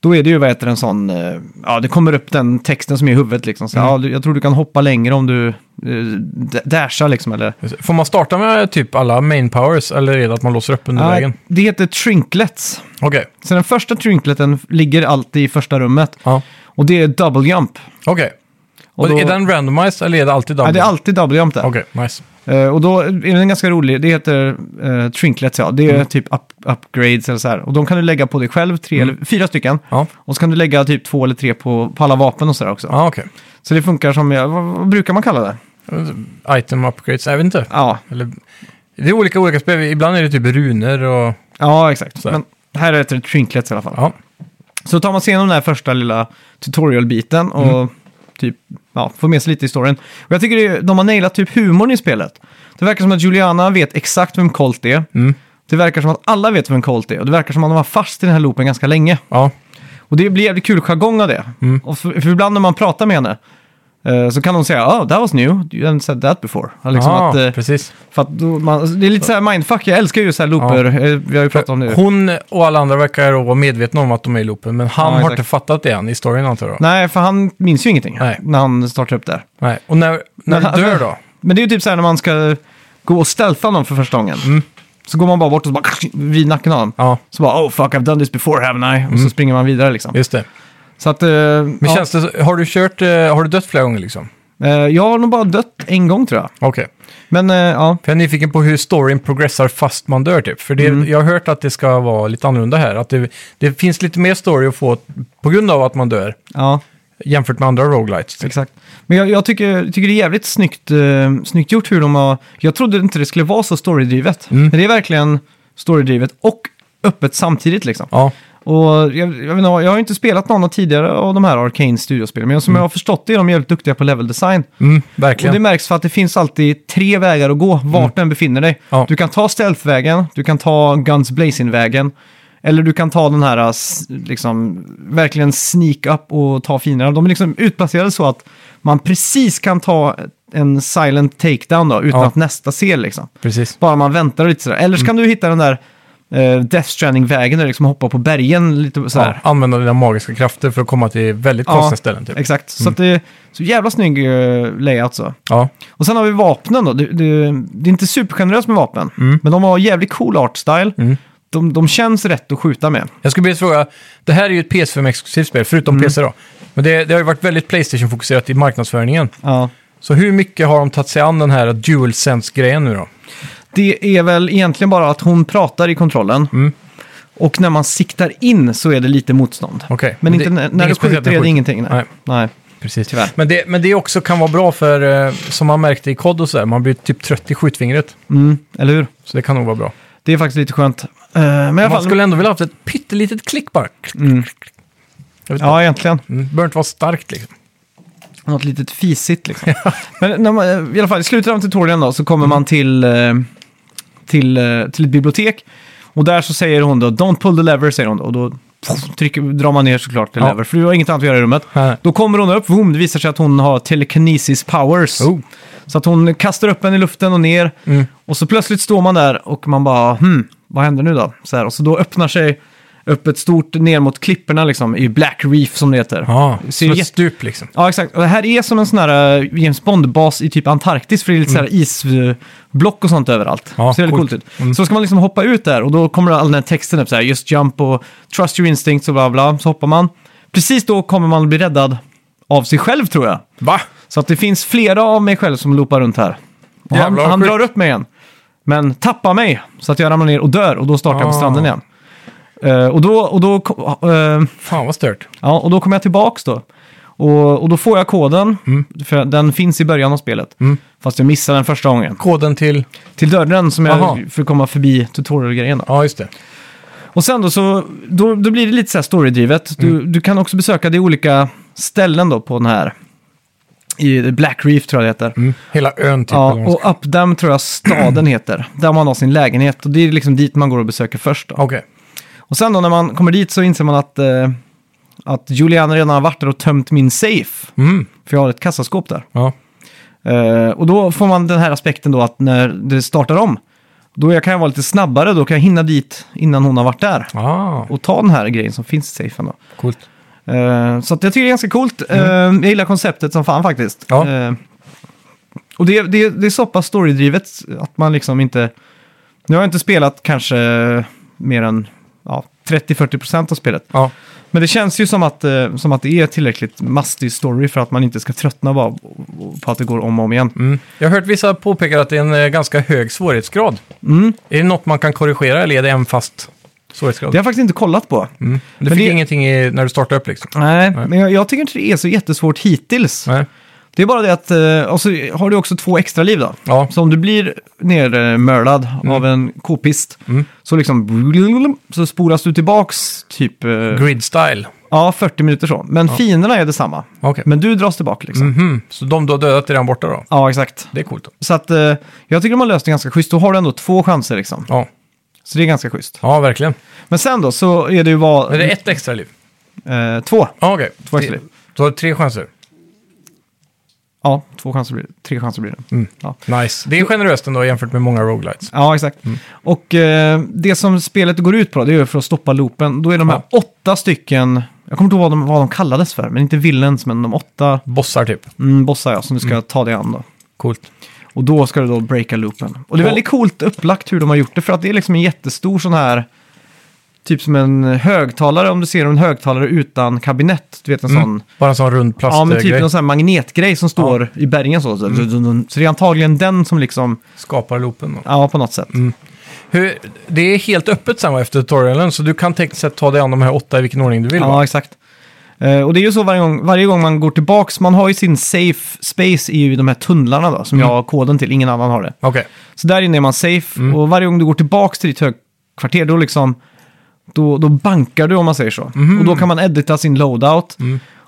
S1: då är det ju vad heter det, en sån, eh, ja det kommer upp den texten som är i huvudet liksom. Så, ja, du- jag tror du kan hoppa längre om du eh, d- dashar liksom eller
S2: Får man starta med typ alla main powers eller är det att man låser upp under
S1: Nej,
S2: vägen?
S1: Det heter trinklets.
S2: Okej,
S1: Så den första trinkleten ligger alltid i första rummet.
S2: ja.
S1: Och det är double jump.
S2: Okej.
S1: Och då,
S2: Är den randomized eller är det alltid double?
S1: ja, det är alltid double-jump där.
S2: Okej, nice.
S1: Eh, och då är den ganska rolig. Det heter eh, Trinklets, ja. Det är
S2: Mm.
S1: typ up, upgrades eller så här. Och de kan du lägga på dig själv, tre
S2: Mm.
S1: eller fyra stycken.
S2: Ja,
S1: Och så kan du lägga typ två eller tre på, på alla vapen och sådär också.
S2: ja okej.
S1: Så det funkar som, ja, vad, vad brukar man kalla det?
S2: Item upgrades, jag vet inte.
S1: Ja,
S2: Eller, det är olika olika spel, ibland är det typ runor och...
S1: ja exakt.
S2: Så här.
S1: Men här heter det Trinklets i alla fall.
S2: Ja,
S1: Så tar man sig igenom den här första lilla tutorial-biten och
S2: Mm.
S1: typ, ja, får med sig lite i storyn. Och jag tycker det, är- de har nailat typ humorn i spelet. Det verkar som att Juliana vet exakt vem Colt är.
S2: Mm.
S1: Det verkar som att alla vet vem Colt är och det verkar som att de var fast i den här loopen ganska länge.
S2: ja.
S1: Och det blir jävligt kul jargong av det.
S2: Mm.
S1: Och för, för ibland när man pratar med henne eh, så kan hon säga oh, that was new, you haven't said that before. Ja, Liksom
S2: ah,
S1: att, eh,
S2: precis.
S1: för att då man, det är lite så här mindfuck, jag älskar ju så här looper, Eh, vi har ju pratat om det.
S2: Hon och alla andra verkar då vara medvetna om att de är i loopen, men han
S1: Ja,
S2: har
S1: exakt.
S2: inte fattat det än i storyn antar jag.
S1: Nej, för han minns ju ingenting
S2: Nej.
S1: när han startar upp där.
S2: Nej. Och när, när
S1: Men han-
S2: du dör då?
S1: Men det är ju typ så här när man ska gå och stealtha någon för första gången. Så går man bara bort och så bara [clears throat] vid nacken av dem.
S2: Mm. Ja,
S1: Så bara oh fuck I've done this before haven't I? Och så springer man vidare liksom.
S2: just det.
S1: Så att, eh,
S2: Men
S1: ja.
S2: känns det, så- har du kört, eh, har du dött flera gånger liksom?
S1: Eh, jag har nog bara dött en gång tror jag.
S2: Okej.
S1: Men eh, ja,
S2: För jag är nyfiken på hur storyn progressar fast man dör typ. För det,
S1: Mm.
S2: jag har hört att det ska vara lite annorlunda här. Att det, det finns lite mer story att få på grund av att man dör
S1: ja.
S2: jämfört med andra roguelites. Typ.
S1: Exakt. Men jag, jag tycker, tycker det är jävligt snyggt, eh, snyggt gjort hur de har... Jag trodde inte det skulle vara så storydrivet.
S2: Mm.
S1: Men det är verkligen storydrivet och öppet samtidigt liksom.
S2: Ja,
S1: Och jag, jag, vet inte, jag har ju inte spelat någon av tidigare av de här Arcane Studios-spelen, men som jag har förstått det är de jävligt duktiga på level design.
S2: mm,
S1: Och det
S2: verkligen. Mm.
S1: märks för att det finns alltid tre vägar att gå, vart du än befinner dig.
S2: Ja.
S1: Du kan ta stealth-vägen, du kan ta Guns Blazing-vägen, eller du kan ta den här, s- liksom, verkligen sneak up och ta fienderna. De är liksom utplacerade så att man precis kan ta en silent takedown då, utan
S2: Ja.
S1: att nästa ser liksom.
S2: Precis.
S1: Bara man väntar lite sådär. Eller så
S2: Mm.
S1: kan du hitta den där eh, Death Stranding-vägen där du liksom hoppar på bergen lite
S2: Ja,
S1: sådär.
S2: använda dina magiska krafter för att komma till väldigt konstiga ställen typ.
S1: exakt. Så att det är så jävla snygg eh, layout så.
S2: Ja,
S1: Och sen har vi vapnen då. Det, det, det är inte supergeneröst med vapen,
S2: Mm.
S1: men de har jävligt cool art style. De, de känns rätt att skjuta med.
S2: Jag skulle vilja fråga, det här är ju ett PS5-exklusivt spel, förutom
S1: Mm.
S2: PC då. Men det, det har ju varit väldigt Playstation-fokuserat i marknadsföringen.
S1: Ja.
S2: Så hur mycket har de tagit sig an den här DualSense-grejen nu då?
S1: Det är väl egentligen bara att hon pratar i kontrollen.
S2: Mm.
S1: Och när man siktar in så är det lite motstånd.
S2: Okej.
S1: Men
S2: Men
S1: inte,
S2: det-
S1: när-
S2: det är
S1: när du
S2: inget speciellt
S1: skjuter
S2: med
S1: är det
S2: skjut.
S1: ingenting. Nej.
S2: Nej.
S1: Nej.
S2: Precis.
S1: Tyvärr.
S2: Men det, men det också kan vara bra för, eh, som man märkte i COD och sådär, man blir typ trött i skjutfingret.
S1: Mm, eller hur?
S2: Så det kan nog vara bra.
S1: Det är faktiskt lite skönt. Eh, men i alla
S2: Man
S1: fall... Mm.
S2: skulle ändå vilja haft ett pyttelitet klick bara. Jag vet inte.
S1: Ja, egentligen.
S2: Mm, Det behöver inte vara starkt liksom.
S1: Något litet fisigt
S2: [laughs]
S1: liksom. Men när man, eh, i alla fall, i slutet av tutorialen då så kommer
S2: Mm.
S1: man till, eh, till, eh, till ett bibliotek. Och där så säger hon då, don't pull the lever, säger hon då. Och då trycker, drar man ner såklart the
S2: Ja.
S1: lever, för du har inget annat att göra i rummet.
S2: Nej.
S1: Då kommer hon upp, boom, det visar sig att hon har telekinesis powers.
S2: Oh. Mm.
S1: Så att hon kastar upp en i luften och ner. Och så plötsligt står man där och man bara, hmm, vad händer nu då? Så, här, och så då öppnar sig upp ett stort ner mot klipporna liksom, i Black Reef som det heter.
S2: Ja,
S1: Det ser
S2: som
S1: jätte-
S2: ett stup liksom.
S1: Ja, exakt. Och det här är som en sån här eh, James Bond-bas i typ Antarktis, för det är lite så här isblock och sånt överallt.
S2: Mm. Ja,
S1: ser väldigt coolt,
S2: coolt Mm.
S1: ut. Så ska man liksom hoppa ut där och då kommer all den här texten upp så här, just jump och trust your instincts och bla bla. Så hoppar man. Precis då kommer man bli räddad av sig själv tror jag.
S2: Va?
S1: Så att det finns flera av mig själv som loopar runt här. Och han,
S2: Jävlar, vad
S1: han
S2: sjukt.
S1: drar upp mig igen. Men tappar mig så att jag ramlar ner och dör och då startar jag på
S2: Ah.
S1: stranden igen. Eh, och då, och då eh,
S2: Fan vad stört.
S1: Ja, och då kommer jag tillbaks då. Och, och då får jag koden,
S2: Mm.
S1: för den finns i början av spelet. Fast jag missade den första gången.
S2: Koden till...
S1: Till dörren som jag,
S2: Aha.
S1: för att komma förbi tutorial-grejen. då.
S2: Ja, just det.
S1: Och sen då så, då, då blir det lite så här storydrivet. Du,
S2: Mm.
S1: du kan också besöka de olika ställen då på den här. I Black Reef tror jag det heter.
S2: Mm. Hela ön typ.
S1: Ja,
S2: eller vad man ska-
S1: och Updam tror jag staden [clears throat] heter. Där man har sin lägenhet. Och det är liksom dit man går och besöker först. Då.
S2: Okej.
S1: Och sen då när man kommer dit så inser man att, eh, att Julian redan har varit där och tömt min safe.
S2: Mm.
S1: För jag har ett kassaskåp där.
S2: Ja.
S1: Eh, och då får man den här aspekten då att när det startar om, då jag kan jag vara lite snabbare, då kan jag hinna dit innan hon har varit där.
S2: Ah,
S1: Och ta den här grejen som finns i safen då.
S2: coolt.
S1: Eh, så att jag tycker det är ganska coolt. Eh, jag gillar konceptet som fan faktiskt.
S2: Ja.
S1: Eh, och det, det, det är så pass storydrivet att man liksom inte... Nu har jag inte spelat kanske mer än ja, 30-40% av spelet.
S2: Ja.
S1: Men det känns ju som att, eh, som att det är tillräckligt mastig story för att man inte ska tröttna bara på att det går om och om igen.
S2: Mm. Jag har hört vissa påpeka att det är en eh, ganska hög svårighetsgrad.
S1: Mm.
S2: Är det något man kan korrigera eller är det en fast svårighetsgrad?
S1: Det har jag faktiskt inte kollat på.
S2: Mm. Du
S1: Men
S2: fick
S1: det-
S2: ingenting i, när du startade upp liksom?
S1: Nej, men jag, jag tycker inte det är så jättesvårt hittills.
S2: Nej.
S1: Det är bara det att, eh, och så har du också två extra liv då.
S2: Ja. Mm.
S1: Så om du blir nermördad av en k-pist, så liksom så spolas du tillbaks typ eh,
S2: Grid style.
S1: ja, 40 minuter så. Men fienderna är detsamma.
S2: Okej.
S1: Men du dras tillbaka liksom.
S2: Mhm. Så de du har dödat är redan borta då?
S1: Ja, exakt.
S2: Det är coolt. Då.
S1: Så att eh, jag tycker de har löst det ganska schysst. Då har du ändå två chanser liksom.
S2: Ja.
S1: Så det är ganska schysst.
S2: ja, verkligen.
S1: Men sen då så är det ju vad...
S2: Men det är ett extra liv?
S1: Eh, två.
S2: Ja, okej.
S1: Två extra liv.
S2: Du har tre chanser.
S1: Ja, två chanser blir det. Tre chanser blir det. Ja.
S2: Nice. Det är generöst ändå jämfört med många roguelites.
S1: Ja, exakt. Och eh, det som spelet går ut på, det är ju för att stoppa loopen. Då är de här åtta stycken, jag kommer inte ihåg vad de, vad de kallades för, men inte villains, men de åtta
S2: Bossar typ.
S1: mm, bossar jag som du ska ta dig an då.
S2: Coolt.
S1: Och då ska du då breaka loopen. Och det är
S2: Och-
S1: väldigt coolt upplagt hur de har gjort det, för att det är liksom en jättestor sån här, typ som en högtalare, om du ser en högtalare utan kabinett, du vet en
S2: Mm. eh,
S1: sån.
S2: Bara en sån rund
S1: Ja, men
S2: plastgrej.
S1: typ någon sån här magnetgrej som står i bergen så. Så, så det är antagligen den som liksom,
S2: Skapar loopen. Då.
S1: ja på något sätt.
S2: Hur, det är helt öppet sen va, efter tutorialen, så du kan tekniskt sett ta dig an de här åtta i vilken ordning du vill.
S1: Ja,
S2: va?
S1: exakt. Eh, och det är ju så varje gång, varje gång man går tillbaks, man har ju sin safe space i ju de här tunnlarna då, som jag har koden till, ingen annan har det.
S2: Okej.
S1: Så där inne är man safe
S2: Mm.
S1: och varje gång du går tillbaks till ditt högkvarter, då liksom, då, då bankar du om man säger så.
S2: Mm.
S1: Och då kan man edita sin loadout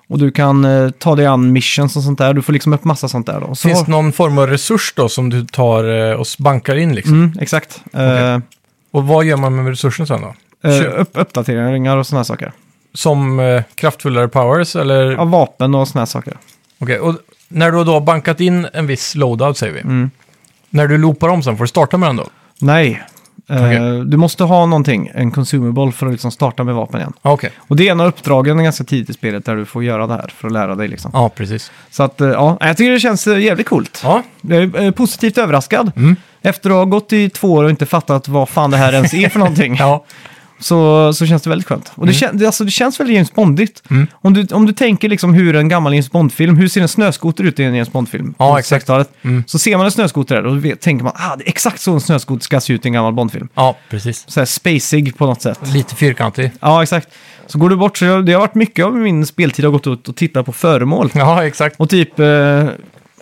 S1: och du kan eh, ta dig an missions och sånt där, du får liksom upp massa sånt där då. Så,
S2: Finns det någon form av resurs då som du tar eh, och bankar in liksom?
S1: mm, exakt. Eh,
S2: Och vad gör man med resursen sen då?
S1: eh,
S2: Kö-
S1: upp, uppdateringar och såna här saker.
S2: Som eh, kraftfullare powers eller?
S1: Ja, vapen och såna här saker.
S2: Okej, och när du då har bankat in en viss loadout säger vi.
S1: Mm.
S2: När du loopar om sen, får du starta med den då?
S1: Nej. Eh,
S2: Okej.
S1: Du måste ha någonting, en consumable, för att liksom starta med vapen igen.
S2: Ja, Okej.
S1: Och det är en av uppdragen ganska tidigt i spelet där du får göra det här för att lära dig. Liksom.
S2: Ja, precis.
S1: Så att, eh, ja, jag tycker det känns eh, jävligt coolt.
S2: Ja,
S1: Jag är eh, positivt överraskad.
S2: Mm.
S1: Efter att ha gått i två år och inte fattat vad fan det här ens är för någonting
S2: [laughs] ja. Mm. så
S1: så, så känns det väldigt skönt. Och det, kän, det, alltså, det känns väldigt James Bondigt.
S2: Mm.
S1: Om, du, om du tänker liksom hur en gammal James Bond-film, hur ser en snöskoter ut i en James Bond-film?
S2: Ja,
S1: på
S2: exakt. Mm.
S1: 60-talet? Så ser man en snöskoter där och vet, tänker man ah, det är exakt så en snöskoter ska se ut i en gammal Bond-film.
S2: ja, precis.
S1: Så här spacig på något sätt.
S2: Lite fyrkantig.
S1: Ja, exakt. Så går du bort, så jag, det har varit mycket av min speltid har gått ut och tittat på föremål.
S2: Ja, exakt.
S1: Och typ, eh,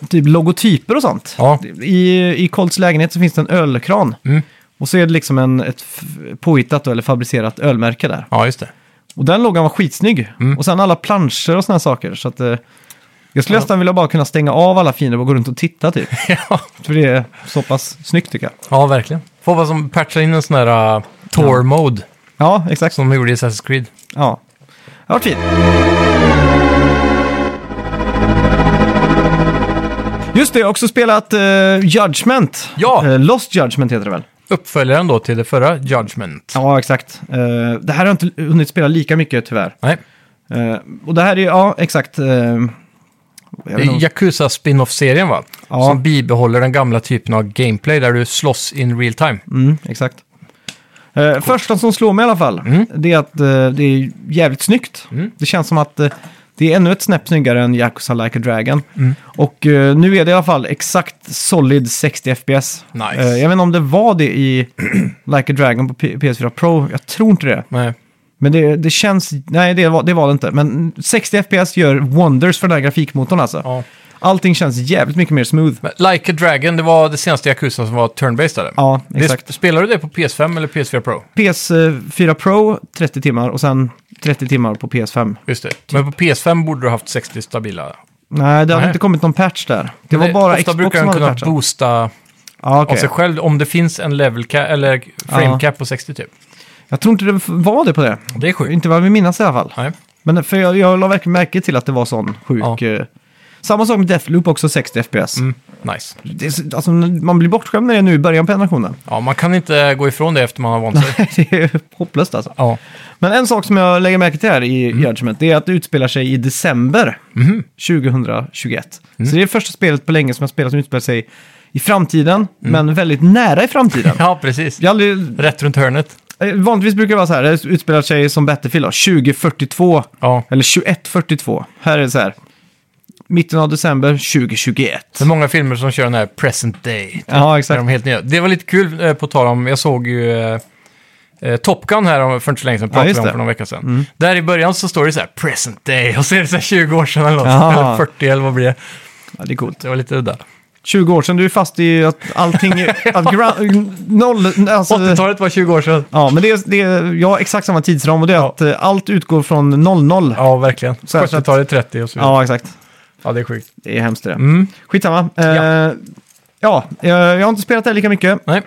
S1: typ logotyper och sånt.
S2: Ja.
S1: I, I Colts lägenhet så finns det en ölkran. Och så är det liksom en, ett f- påhittat eller fabricerat ölmärke där.
S2: Ja, just det. [laughs]
S1: Och den loggan var skitsnygg. Och sen alla planscher och såna här saker. Så att, eh, jag skulle nästan vilja bara kunna stänga av alla fiender och gå runt och titta typ.
S2: ja.
S1: För det är så pass snyggt tycker jag.
S2: ja, verkligen. Får vad som patchar in en sån här uh, Tor-mode
S1: Ja, exakt.
S2: som de gjorde i Assassin's Creed.
S1: Ja. Det har varit fint. Just det, jag har också spelat eh, Judgment.
S2: Ja.
S1: Eh, Lost Judgment heter det väl?
S2: Uppföljaren då till det förra, Judgment.
S1: Ja, exakt. Eh, det här har jag inte hunnit spela lika mycket tyvärr.
S2: Nej,
S1: Eh, och det här är, ja, exakt. eh, jag vet
S2: det
S1: inte om-
S2: är Yakuza spin-off-serien va?
S1: Ja.
S2: Som bibehåller den gamla typen av gameplay där du slåss in real time.
S1: Mm, exakt. Eh, första som slår mig i alla fall,
S2: Mm.
S1: det är att eh, det är jävligt snyggt. Det känns som att eh, det är ännu ett snäpp snyggare än Yakuza Like a Dragon.
S2: Mm.
S1: Och eh, nu är det i alla fall exakt solid 60 FPS.
S2: Nice.
S1: Eh, jag vet inte om det var det i [clears throat] Like a Dragon på P- PS4 Pro, jag tror inte det.
S2: Nej.
S1: Men det, det känns, nej det var, det var det inte. Men 60 FPS gör wonders för den här grafikmotorn alltså.
S2: Ja.
S1: Allting känns jävligt mycket mer smooth.
S2: Men Like a Dragon, det var det senaste Yakuza som var turn-based eller?
S1: Ja,
S2: Det-
S1: exakt.
S2: Spelar du det på PS5 eller PS4 Pro?
S1: PS4 Pro 30 timmar och sen 30 timmar på PS5.
S2: Just det. Men på PS5 borde du haft 60 stabila.
S1: Nej, det har
S2: Nej.
S1: inte kommit någon patch där. Det var
S2: Men
S1: bara
S2: ofta
S1: Xbox
S2: brukar den
S1: som hade
S2: kunna
S1: patchen.
S2: boosta
S1: Ja,
S2: av
S1: okej.
S2: sig själv om det finns en level cap eller frame
S1: Ja.
S2: cap på 60 typ.
S1: Jag tror inte det f- var det på det.
S2: Det är sjukt.
S1: Inte vad vi minns i alla fall.
S2: Nej.
S1: Men för jag, jag la verkligen märke till att det var sån sjuk...
S2: Ja. Mm.
S1: eh, Samma sak med Deathloop också, 60 FPS.
S2: Nice.
S1: Det är, så- alltså, man blir bortskämd när det är nu i början på generationen. [laughs]
S2: Ja, man kan inte gå ifrån det efter man har vant sig.
S1: det är hopplöst alltså.
S2: ja.
S1: Men en sak som jag lägger märke till här i
S2: Mm.
S1: Judgment, det är att det utspelar sig i december
S2: Mm-hmm.
S1: 2021.
S2: Mm.
S1: Så det är det första spelet på länge som jag spelat som utspelar sig i framtiden, men väldigt nära i framtiden.
S2: Mm. [laughs] ja, precis.
S1: Jag har aldrig,
S2: Rätt runt hörnet.
S1: eh, vanligtvis brukar det vara så här, det utspelar sig som Battlefield då, 2042
S2: Ja.
S1: eller 2142. Här är det så här, mitten av december 2021.
S2: Det är många filmer som kör den här present day.
S1: Ja,
S2: Där de
S1: exakt.
S2: är helt nya. Det var lite kul eh, på tal om, jag såg ju eh, eh, Top Gun här om- för inte så länge sedan, pratade
S1: just
S2: vi om
S1: det. Mm.
S2: för någon vecka sedan. Där i början så står det så här present day och så är det så här 20 år sedan eller något,
S1: Jaha.
S2: eller 40 eller vad blir det?
S1: Ja, det är coolt.
S2: Det var lite udda.
S1: 20 år sedan, du är fast i att allting... är- att gra- [laughs] noll, alltså,
S2: 80-talet var 20 år sedan.
S1: Ja, men det är, det är, jag har exakt samma tidsram och det är att eh, allt utgår från 00. Ja,
S2: Ja, verkligen.
S1: Så här, så att-
S2: 70-talet 30 och så vidare. Ja,
S1: ja exakt.
S2: det är sjukt.
S1: Det är hemskt det.
S2: Mm.
S1: Skitsamma. Eh, ja. jag, jag har inte spelat det här lika mycket.
S2: Nej.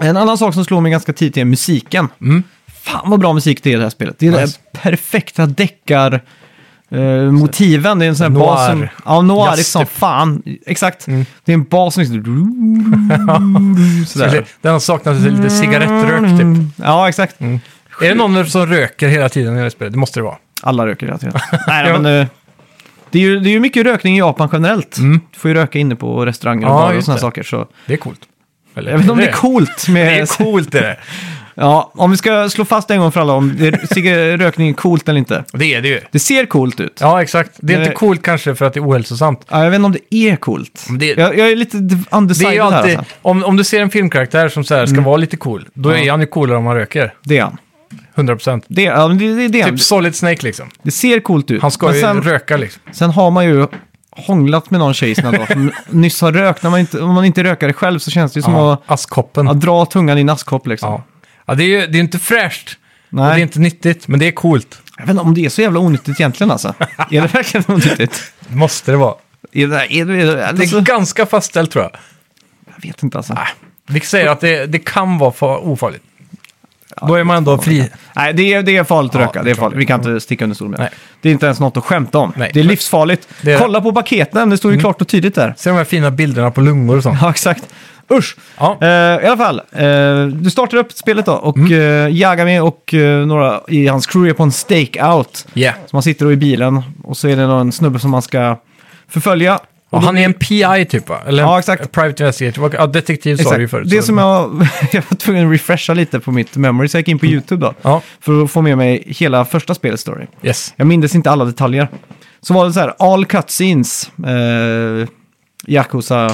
S1: En annan sak som slår mig ganska tidigt är musiken.
S2: Mm.
S1: Fan vad bra musik det är i det här spelet. Det är
S2: Nice.
S1: det perfekta deckar... eh, motiven, det är en sån här
S2: Noir. Mm.
S1: bas som... Ja, noir
S2: Jazz,
S1: är som
S2: typ.
S1: fan. Exakt. Det är en bas som
S2: [laughs]
S1: liksom...
S2: Skulle-
S1: Sådär.
S2: Den saknas
S1: Mm.
S2: lite cigarettrök typ.
S1: Ja, exakt.
S2: Är det någon som röker hela tiden i det här spelet? Det måste det vara.
S1: Alla röker hela tiden. [laughs] Nej,
S2: Ja.
S1: men, eh, det, är ju, det är ju mycket rökning i Japan generellt. Du får ju röka inne på restauranger och
S2: Mm. Ja,
S1: barer och
S2: just
S1: sådana
S2: det.
S1: saker. Så.
S2: Det är coolt. Eller,
S1: Jag vet inte om det
S2: [laughs]
S1: är coolt med...
S2: Det är coolt är det.
S1: Ja, om vi ska slå fast en gång för alla om det är, cigar- rökning är coolt eller inte.
S2: Det är det ju.
S1: Det ser coolt ut. Ja.
S2: Ja, exakt. Det är
S1: Men-
S2: inte coolt kanske för att det är ohälsosamt.
S1: jag vet inte om det är coolt.
S2: Men det-
S1: jag, jag är lite d-
S2: Det
S1: undecided
S2: är ju
S1: här.
S2: alltid,
S1: Alltså. Mm.
S2: om, om du ser en filmkaraktär som så här ska vara lite cool, då är han ju coolare om han röker.
S1: Det är han.
S2: 100%.
S1: Det, ja, men det, det, det, är han.
S2: Typ Solid Snake liksom.
S1: det ser coolt ut.
S2: Han ska
S1: Men
S2: ju
S1: sen,
S2: röka liksom.
S1: sen har man ju hånglat med någon tjej i sina dagar som
S2: [laughs]
S1: nyss har rökt. När man inte, om man inte rökar det själv så känns det ju som
S2: Ja,
S1: att,
S2: askkoppen.
S1: att dra tungan i en askkopp liksom.
S2: Ja. Ja, det är ju det är inte fräscht.
S1: Nej.
S2: Och det är inte nyttigt, men det är coolt.
S1: Jag vet inte om det är så jävla onyttigt
S2: [laughs]
S1: egentligen alltså. är det verkligen onyttigt?
S2: Det måste det vara.
S1: Är det, är det, är det,
S2: Det är
S1: alltså,
S2: ganska fastställt tror jag.
S1: jag vet inte alltså.
S2: Vilket säger att det, det kan vara fa- ofarligt. Då är man ändå fri.
S1: Nej, det är, det är farligt att
S2: Ja,
S1: röka.
S2: det
S1: Det är
S2: är klart. Mm.
S1: farligt. Vi kan inte sticka under stol med det.
S2: Nej.
S1: Det är inte ens något att skämta om.
S2: Nej.
S1: Det är livsfarligt.
S2: Det är- Mm.
S1: Kolla på paketen, det står ju klart och tydligt där. [laughs]
S2: Se de här fina bilderna på lungor och sånt.
S1: Ja, exakt. Usch!
S2: Ja. Mm.
S1: Eh, I alla fall, eh, du startar upp spelet då och eh, Jagami och eh, några i hans crew är på en stakeout.
S2: Yeah.
S1: Så man sitter då i bilen och så är det någon snubbe som man ska förfölja.
S2: Och han är en PI typ va? Eller
S1: Ja, exakt.
S2: en Private Investigator. Ja, detektiv sa du ju förut.
S1: Det
S2: så-
S1: som jag, [laughs] jag var tvungen att refresha lite på mitt memory, så jag gick in på YouTube då.
S2: Mm. Ja.
S1: För att få med mig hela första spelets story.
S2: Yes.
S1: Jag mindes inte alla detaljer. Så var det så här, all cutscenes, eh, Yakuza,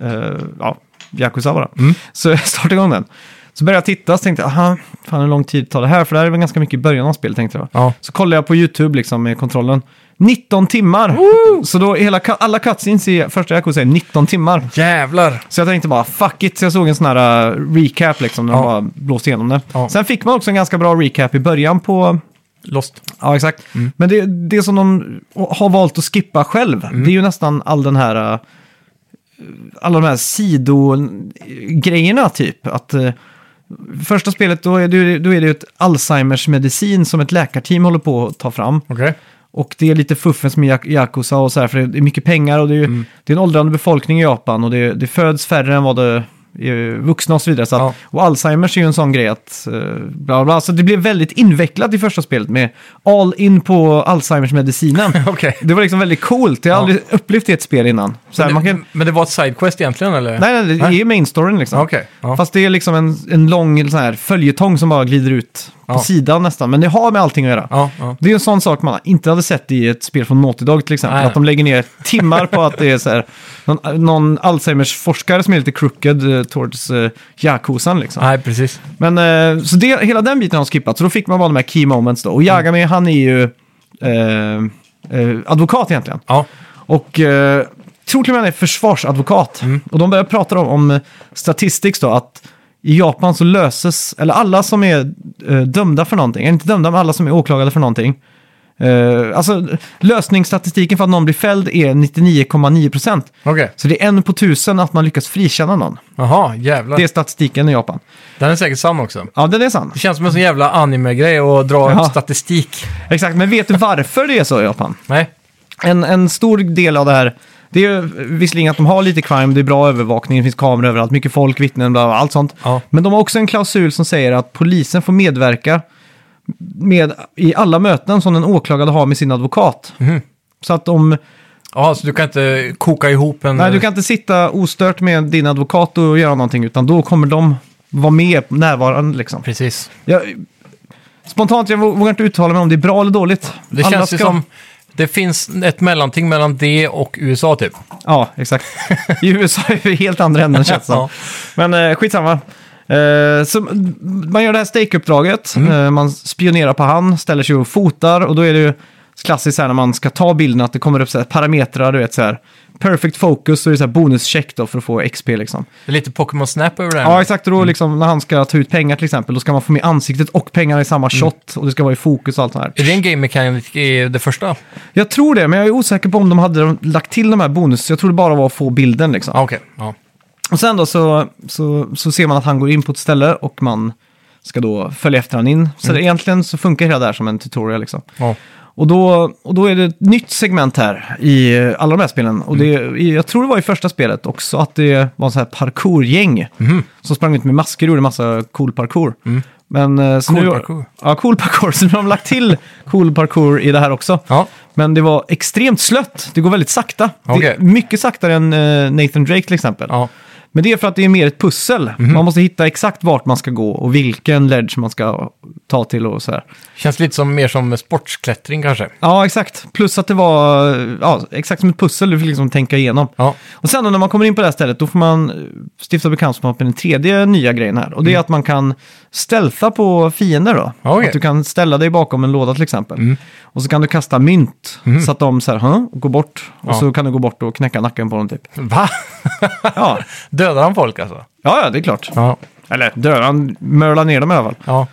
S1: eh, ja, Yakuza bara.
S2: Mm.
S1: Så jag startade igång den. Så började jag titta, så tänkte jag, aha, fan hur lång tid tar det här? För det här är väl ganska mycket i början av spelet, tänkte jag.
S2: Ja.
S1: Så kollade jag på YouTube liksom med kontrollen. 19 timmar! Så då hela, cu- alla cutscenes i första Yakuza är 19 timmar.
S2: Jävlar.
S1: Så jag tänkte bara fuck it, så jag såg en sån här uh, recap liksom, när de
S2: Ja.
S1: bara blåste igenom det.
S2: Ja.
S1: Sen fick man också en ganska bra recap i början på...
S2: Lost.
S1: Ja, exakt.
S2: Mm.
S1: Men det, det som de har valt att skippa själv,
S2: Mm.
S1: det är ju nästan all den här... uh, Alla de här sidogrejerna typ. Att, uh, första spelet, då är det, ju- då är det ju ett Alzheimers medicin som ett läkarteam håller på att ta fram.
S2: Okej.
S1: Och det är lite fuffens med Jak- Yakuza och så här, för det är mycket pengar och det är, ju,
S2: Mm.
S1: det är en åldrande befolkning i Japan och det, det föds färre än vad det är vuxna och så vidare. Så att,
S2: Ja.
S1: Och Alzheimers är ju en sån grej att... eh, Bla bla, så det blev väldigt invecklat i första spelet med all in på Alzheimers-medicinen.
S2: [laughs] Okej.
S1: Det var liksom väldigt coolt, jag har aldrig upplevt det i ett spel innan. Så här,
S2: Men,
S1: man
S2: det-
S1: kan,
S2: men det var ett sidequest egentligen eller?
S1: nej, nej, det är ju main storyn liksom.
S2: Okej. Ja.
S1: Fast det är liksom en, en lång sån här följetong som bara glider ut på
S2: Ja.
S1: sidan nästan. Men det har med allting att göra.
S2: Ja, ja.
S1: Det är en sån sak man inte hade sett i ett spel från Naughty Dog till exempel.
S2: Nej.
S1: Att de lägger ner timmar på att det är så här, någon, någon Alzheimers-forskare som är lite crooked eh, towards eh, Yakuzan liksom.
S2: Nej, precis.
S1: Men eh, så det, hela den biten har de skippat. Så då fick man bara de här key moments då. Och Yagami, han är ju eh, eh, advokat egentligen.
S2: Ja.
S1: Och eh, tror till och med han är försvarsadvokat. Och de börjar prata om, om statistics då, att i Japan så löses, eller alla som är eh, dömda för någonting, eller inte dömda, men alla som är åklagade för någonting. Eh, alltså lösningsstatistiken för att någon blir fälld är 99,9 procent.
S2: Okej.
S1: Så det är en på tusen att man lyckas frikänna någon.
S2: Jaha, jävlar.
S1: Det är statistiken i Japan.
S2: Den är säkert sann också.
S1: Ja, den är sann.
S2: Det känns som en sån jävla anime-grej att dra
S1: Ja.
S2: upp statistik.
S1: Exakt, men vet du varför det är så i Japan?
S2: Nej.
S1: En, en stor del av det här, det är ju visserligen att de har lite crime, det är bra övervakning, det finns kameror överallt, mycket folk, vittnen, bla, bla, allt sånt.
S2: Ja.
S1: Men de har också en klausul som säger att polisen får medverka med, i alla möten som den åklagade har med sin advokat.
S2: Mhm.
S1: Så att
S2: Mm.
S1: om,
S2: Ja, så du kan inte koka ihop en...
S1: nej du kan inte sitta ostört med din advokat och göra någonting, utan då kommer de vara med närvarande liksom.
S2: Precis.
S1: Jag, spontant, jag vå- vågar inte uttala mig om det är bra eller dåligt.
S2: Det
S1: Alla
S2: känns ju
S1: ska-
S2: som det finns ett mellanting mellan det och USA typ.
S1: Ja, exakt. [laughs] I USA är vi helt andra änden känns det som.
S2: Ja.
S1: Men eh, skitsamma. Eh, så m- man gör det här stake-uppdraget, eh, man spionerar på han, ställer sig och fotar och då är det ju klassiskt så här när man ska ta bilden att det kommer upp så här parametrar, du vet så här perfect focus och det är så här bonuscheck då för att få XP liksom.
S2: Det är lite Pokémon Snap över det här.
S1: Ja, exakt. Och då liksom när han ska ta ut pengar till exempel, då ska man få med ansiktet och pengarna i samma shot och det ska vara i fokus och allt det här.
S2: Är det en game mechanic i det första?
S1: Jag tror det, men jag är osäker på om de hade lagt till de här bonus. Jag tror det bara var att få bilden liksom.
S2: Ja, okej. Ja.
S1: Och sen då så, så, så ser man att han går in på ett ställe och man ska då följa efter han in.
S2: Mm.
S1: Så det, egentligen så funkar hela det här som en tutorial liksom.
S2: Ja.
S1: Och då, och då är det ett nytt segment här i eh, alla de här spelen. Och
S2: Mm.
S1: det, i- jag tror det var i första spelet också att det var en sån här parkourgäng
S2: Mhm.
S1: som sprang ut med masker och gjorde massa cool parkour. Men, eh, så
S2: Mm. Cool
S1: nu,
S2: parkour.
S1: Ja, cool parkour. [laughs] Så nu har de lagt till cool parkour i det här också.
S2: Ja.
S1: Men det var extremt slött. Det går väldigt sakta. Det
S2: Okej.
S1: är mycket saktare än eh, Nathan Drake till exempel.
S2: Ja.
S1: Men det är för att det är mer ett pussel.
S2: Mhm.
S1: Man måste hitta exakt vart man ska gå och vilken ledge man ska ta till och så här.
S2: Känns lite som, mer som sportsklättring kanske.
S1: Ja, exakt. Plus att det var ja, exakt som ett pussel du fick liksom tänka igenom.
S2: Ja.
S1: Och sen då, när man kommer in på det här stället, då får man eh, stifta bekantskap med den tredje nya grejen här. Och det är att man kan stealtha på fiender då.
S2: Mm. Okej. Mm.
S1: Att du kan ställa dig bakom en låda till exempel. Och så kan du kasta mynt så att de så här, "Huh?" går bort. Och
S2: Ja.
S1: så kan du gå bort och knäcka nacken på
S2: [laughs]
S1: dem typ.
S2: Va?
S1: Ja,
S2: Dödar han folk alltså?
S1: ja, ja det är klart.
S2: Ja.
S1: Eller dör, han mörlar ner dem i alla fall.
S2: Ja.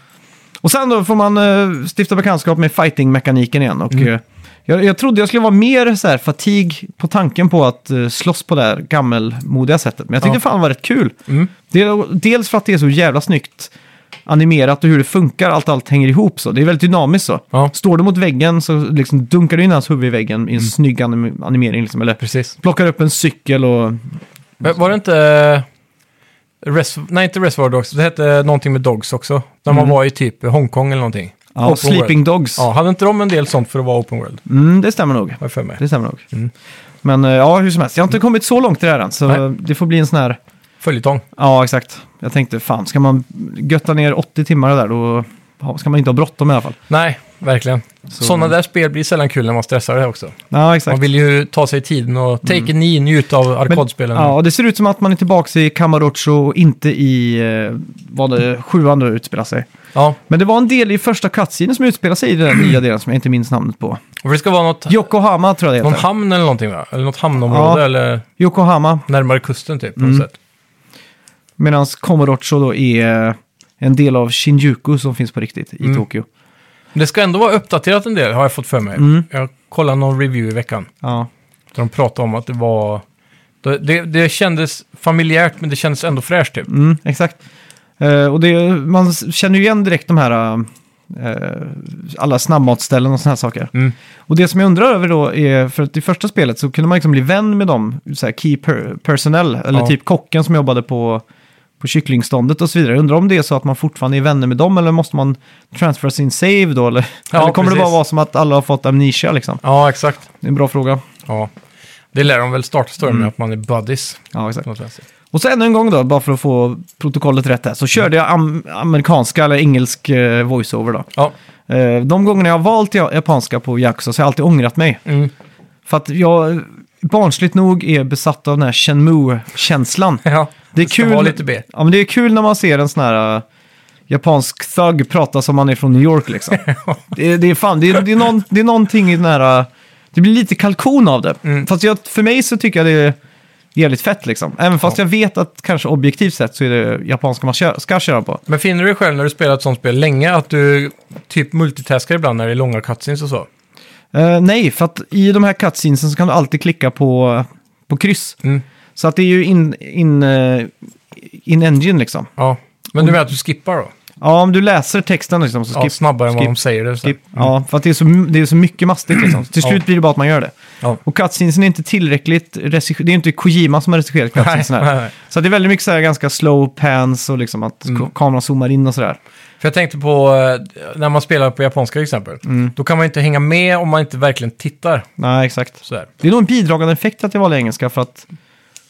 S1: Och sen då får man eh, stifta bekantskap med fighting-mekaniken igen. Och,
S2: Mm.
S1: eh, jag, jag trodde jag skulle vara mer så här, fatig på tanken på att eh, slåss på det här gammelmodiga sättet. Men jag tyckte
S2: Ja. Mm.
S1: fan det var rätt kul. Det, dels för att det är så jävla snyggt animerat och hur det funkar, allt, allt hänger ihop så. Det är väldigt dynamiskt så.
S2: Ja. Mm.
S1: Står du mot väggen så liksom dunkar du in hans huvud i väggen i en snygg anim- animering. Liksom, eller
S2: Precis.
S1: plockar upp en cykel och...
S2: Men var det inte... eh, Res... Nej, inte Reservoir Dogs. Det hette någonting med Dogs också. När man var i typ Hongkong eller någonting.
S1: Ja,
S2: Open
S1: sleeping
S2: World.
S1: dogs.
S2: Ja, hade inte de en del sånt för att vara Open World?
S1: Mm, det stämmer nog.
S2: Har jag för mig.
S1: Det stämmer nog. Men eh, ja, hur som helst, jag har inte kommit så långt i det här än, så
S2: Nej.
S1: det får bli en sån här...
S2: Följetong.
S1: Ja, exakt. Jag tänkte, fan, ska man götta ner 80 timmar där, då ha- ska man inte ha bråttom i alla fall.
S2: Nej, verkligen. Sådana där spel blir sällan kul när man stressar det också.
S1: Ja, exakt.
S2: Man vill ju ta sig tiden och take a knee, njuta av
S1: Men-
S2: arkadspelen.
S1: Ja, det ser ut som att man är tillbaka i Camarocho och inte i, eh, vad det, sjuan då utspelar sig.
S2: Ja,
S1: Men det var en del i första cutscenen som utspelar sig i den nya delen som jag inte minns namnet på.
S2: och det ska vara något,
S1: Yokohama tror jag det
S2: någon
S1: heter.
S2: hamn eller någonting va? Eller något hamnområde
S1: Ja. Mm.
S2: eller
S1: Yokohama,
S2: närmare kusten typ på något sätt.
S1: medan Camarocho då är en del av Shinjuku som finns på riktigt i Tokyo.
S2: Men Det ska ändå vara uppdaterat en del har jag fått för mig.
S1: Mm.
S2: Jag kollade någon review i veckan.
S1: Ja.
S2: Där de pratade om att det var... Det, det, det kändes familjärt men det kändes ändå fräscht typ.
S1: Mm, exakt. Eh, och det, man s- känner ju igen direkt de här eh, alla snabbmatsställen och såna här saker.
S2: Mm.
S1: Och det som jag undrar över då är, för att i första spelet så kunde man liksom bli vän med dem, så här key per personnel, eller
S2: Ja.
S1: typ kocken som jobbade på, på kycklingståndet och så vidare. Jag undrar om det är så att man fortfarande är vänner med dem eller måste man transfera sin save då? Eller,
S2: Ja,
S1: eller kommer det bara
S2: precis.
S1: vara som att alla har fått amnesia liksom?
S2: Ja, exakt.
S1: Det är en bra fråga.
S2: Ja. Det lär de väl starta storyn
S1: Mm.
S2: med, att man är buddies.
S1: Ja, exakt.
S2: på något sätt.
S1: Och så ännu en gång då, bara för att få protokollet rätt här, så körde jag am amerikanska eller engelsk eh, voiceover då.
S2: Ja,
S1: Eh, de gångerna jag har valt ja- japanska på Yakuza så har jag alltid ångrat mig.
S2: Mm.
S1: För att jag eh, barnsligt nog är besatt av den här Shenmue-känslan.
S2: ja.
S1: Det är
S2: ska
S1: kul.
S2: vara lite B.
S1: Ja, men det är kul när man ser en sån här eh, japansk thug prata som man är från New
S2: [laughs]
S1: York liksom. det, är- det är fan, det är, det, är någon, det är någonting i den här... eh, Det blir lite kalkon av det.
S2: Mm.
S1: Fast jag, för mig så tycker jag det är jävligt fett liksom. Även fast jag vet att kanske objektivt sett så är det japanska man kö- ska köra på.
S2: Men finner du dig själv när du spelar ett sånt spel länge att du typ multitaskar ibland när det är långa cutscenes och så?
S1: Eh, nej, för att i de här cutscenesen så kan du alltid klicka på, på kryss.
S2: Mm.
S1: Så att det är ju in, in, eh, in engine liksom.
S2: Ja. Men du menar att du skippar då?
S1: Ja, om du läser texten liksom så
S2: Ja,
S1: skip,
S2: snabbare än vad
S1: skip,
S2: de säger det. så.
S1: skip. Ja, för att det är så, det är så mycket mastigt liksom. Till slut
S2: Mm. Ja.
S1: blir det bara att man gör det.
S2: Ja.
S1: Och cutscenesen är inte tillräckligt regi- Det är inte Kojima som har regisserat cutscenesen
S2: Nej, nej,
S1: här.
S2: Mm. nej.
S1: Så det är väldigt mycket så här ganska slow pans och liksom att ka- kameran zoomar in och sådär.
S2: För jag tänkte på eh, när man spelar på japanska till exempel. Då kan man inte hänga med om man inte verkligen tittar.
S1: Nej, exakt.
S2: Sådär.
S1: Det är nog en bidragande effekt att jag valde engelska för att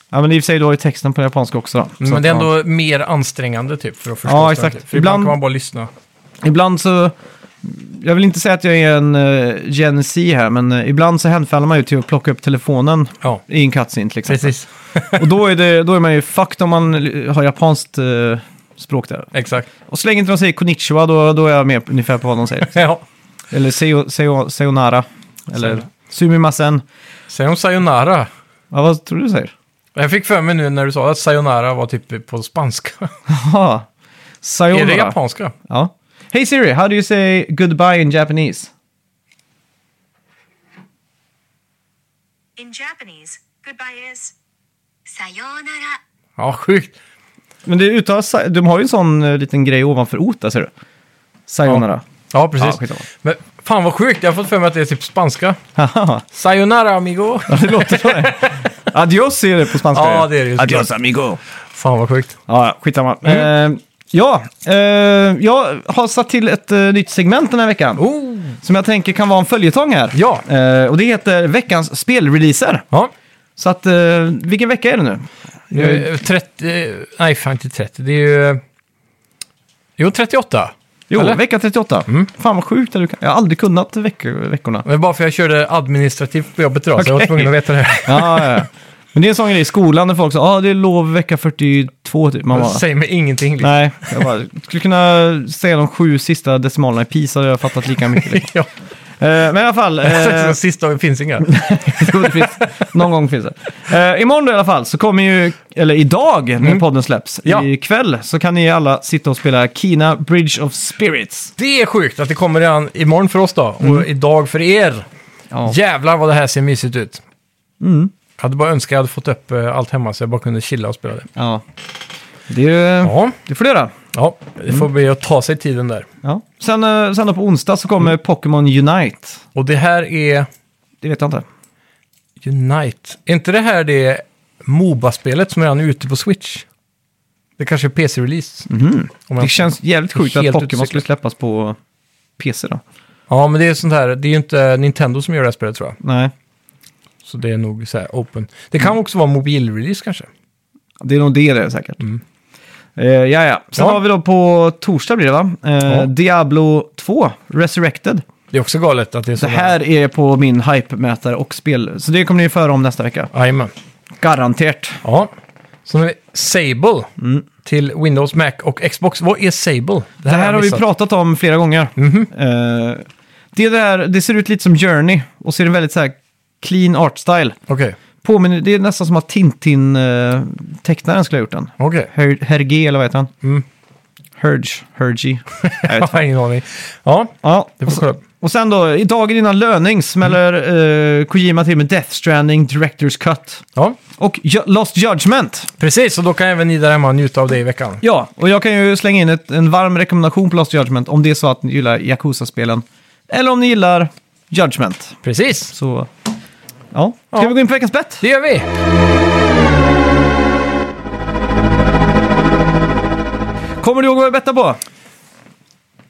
S1: Ja, men i och för sig, du har ju texten på japanska också. Då, Så
S2: Mm, Men
S1: att,
S2: det är
S1: ja.
S2: ändå mer ansträngande typ för att förstå.
S1: Ja,
S2: sig,
S1: exakt.
S2: Typ. För ibland...
S1: Ibland-
S2: kan man bara lyssna.
S1: Ibland så... Jag vill inte säga att jag är en uh, Gen Z här, men eh, ibland så hemfaller man ju till att plocka upp telefonen
S2: Ja,
S1: i en cutscene liksom. till exempel.
S2: precis.
S1: Och då är, det, då är man ju fucked om man eh, har japanskt eh, språk där.
S2: Exakt.
S1: Och så länge inte de säger konnichiwa, då, då är jag med ungefär på vad
S2: [laughs]
S1: de säger.
S2: Ja.
S1: Eller seo, seo, seonara. Eller
S2: Sayonara.
S1: sumimasen.
S2: Säger de sayonara?
S1: Ja, vad tror du säger? [laughs]
S2: Jag fick för mig nu när du sa att sayonara var typ på spanska. [laughs]
S1: Jaha.
S2: Är det
S1: Sayonara.
S2: japanska?
S1: Ja. Hey Siri, how do you say goodbye in Japanese?
S4: In Japanese, goodbye is sayonara.
S2: Ja, sjukt.
S1: Men det uttalas, de har ju en sån eh, liten grej ovanför ot där ser du. Sayonara.
S2: Ja,
S1: Ja,
S2: precis.
S1: skitsamma.
S2: Men fan vad sjukt, jag har fått för mig att det är typ spanska.
S1: Haha,
S2: Sayonara amigo!
S1: det låter så. här. [laughs] Adios är det på
S2: [laughs]
S1: spanska.
S2: Ja, det är det ju
S1: Adios
S2: såklart.
S1: amigo.
S2: Fan vad sjukt.
S1: Ja, ja, skitsamma.
S2: Mm.
S1: Eh, ja, eh, jag har satt till ett eh, nytt segment den här veckan.
S2: Oh.
S1: Som jag tänker kan vara en följetong här.
S2: Ja.
S1: Eh, och det heter veckans spelreleaser.
S2: Ja.
S1: Så att, eh, vilken vecka är det nu? Eh,
S2: Det är ju 30... Nej, fan inte 30. Det är ju... Jo, 38.
S1: Jo,
S2: Eller?
S1: vecka 38. Fan vad sjukt att du kan. Jag har aldrig kunnat veck- veckorna.
S2: Men bara för jag körde administrativt på jobbet idag, så jag var
S1: Okej.
S2: tvungen att veta det här.
S1: [laughs] Ja, ja, ja. Men det är en sån grej i skolan när folk sa ah, det är lov vecka 42 typ. Man
S2: Det
S1: bara,
S2: säger mig ingenting. Liksom.
S1: Nej, jag bara, skulle kunna säga de sju sista decimalerna i PISA hade jag fattat lika mycket. [laughs] liksom.
S2: Ja.
S1: Eh, men i alla
S2: [laughs]
S1: fall, eh,
S2: Den sista dagen finns inga.
S1: [laughs] Jo, det finns, någon gång finns det. Eh, imorgon då i alla fall så kommer ju, eller idag när podden släpps,
S2: Mm. Ja.
S1: ikväll så kan ni alla sitta och spela Kina Bridge of Spirits.
S2: Det är sjukt att det kommer redan imorgon för oss då,
S1: Mm.
S2: och idag för er.
S1: Ja.
S2: Jävlar vad det här ser mysigt ut.
S1: Mm.
S2: Jag hade bara önskat att jag hade fått upp eh, allt hemma så jag bara kunde chilla och spela det.
S1: Ja. Det, är, ju-
S2: Ja,
S1: det får du göra.
S2: ja det får
S1: Mm.
S2: bli att ta sig tiden där.
S1: Ja. Sen, eh, sen då på onsdag så kommer
S2: Mm.
S1: Pokémon Unite.
S2: Och det här är
S1: Det vet jag inte.
S2: Unite. Är inte det här det Moba-spelet som redan är ute på Switch? Det kanske är PC-release. Om jag-
S1: Mhm. Det känns jävligt sjukt att
S2: Helt
S1: Pokémon
S2: utcyklat.
S1: skulle släppas på PC då.
S2: Ja, men det är sånt här. Det är ju inte Nintendo som gör det här spelet tror jag.
S1: Nej,
S2: Så det är nog så här open. Det
S1: Mm.
S2: kan också vara mobilrelease kanske.
S1: det är nog det det är säkert. Eh, ja, ja. Sen
S2: Mm. Ja.
S1: har vi då på torsdag blir det va? Eh,
S2: Ja.
S1: Diablo 2, Resurrected.
S2: Det är också galet att det är så
S1: Det här är på min hype-mätare och spel. Så det kommer ni få höra om nästa vecka.
S2: Jajamän.
S1: Garanterat.
S2: Ja. Så nu är Sable till Windows, Mac och Xbox. Vad är Sable?
S1: Mm. Det här, har vi
S2: missat.
S1: pratat om flera gånger. Eh, det, där, det ser ut lite som Journey och ser väldigt så här clean art-style.
S2: Okej.
S1: Påminner, det är nästan som att Tintin-tecknaren skulle ha gjort den.
S2: Okej.
S1: Her- Hergé, eller vad heter han? Herge. Hergy. Mm. [laughs] Jag
S2: Jag
S1: vet.
S2: har [laughs] ingen aning. Ja,
S1: Ja,
S2: det
S1: och,
S2: får
S1: så,
S2: kolla.
S1: och sen då, i dagen innan löning smäller eh, Kojima till med Death Stranding, Directors Cut
S2: Ja,
S1: och Ju- Lost Judgment.
S2: precis. Och då kan även ni där hemma njuta av det i veckan.
S1: Ja, och jag kan ju slänga in ett, en varm rekommendation på Lost Judgment om det är så att ni gillar Yakuza-spelen. Eller om ni gillar Judgment.
S2: Precis.
S1: Så, ja. Ska
S2: Ja.
S1: vi gå in på veckans bett?
S2: Det gör vi.
S1: Kommer du ihåg vad vi bettade på?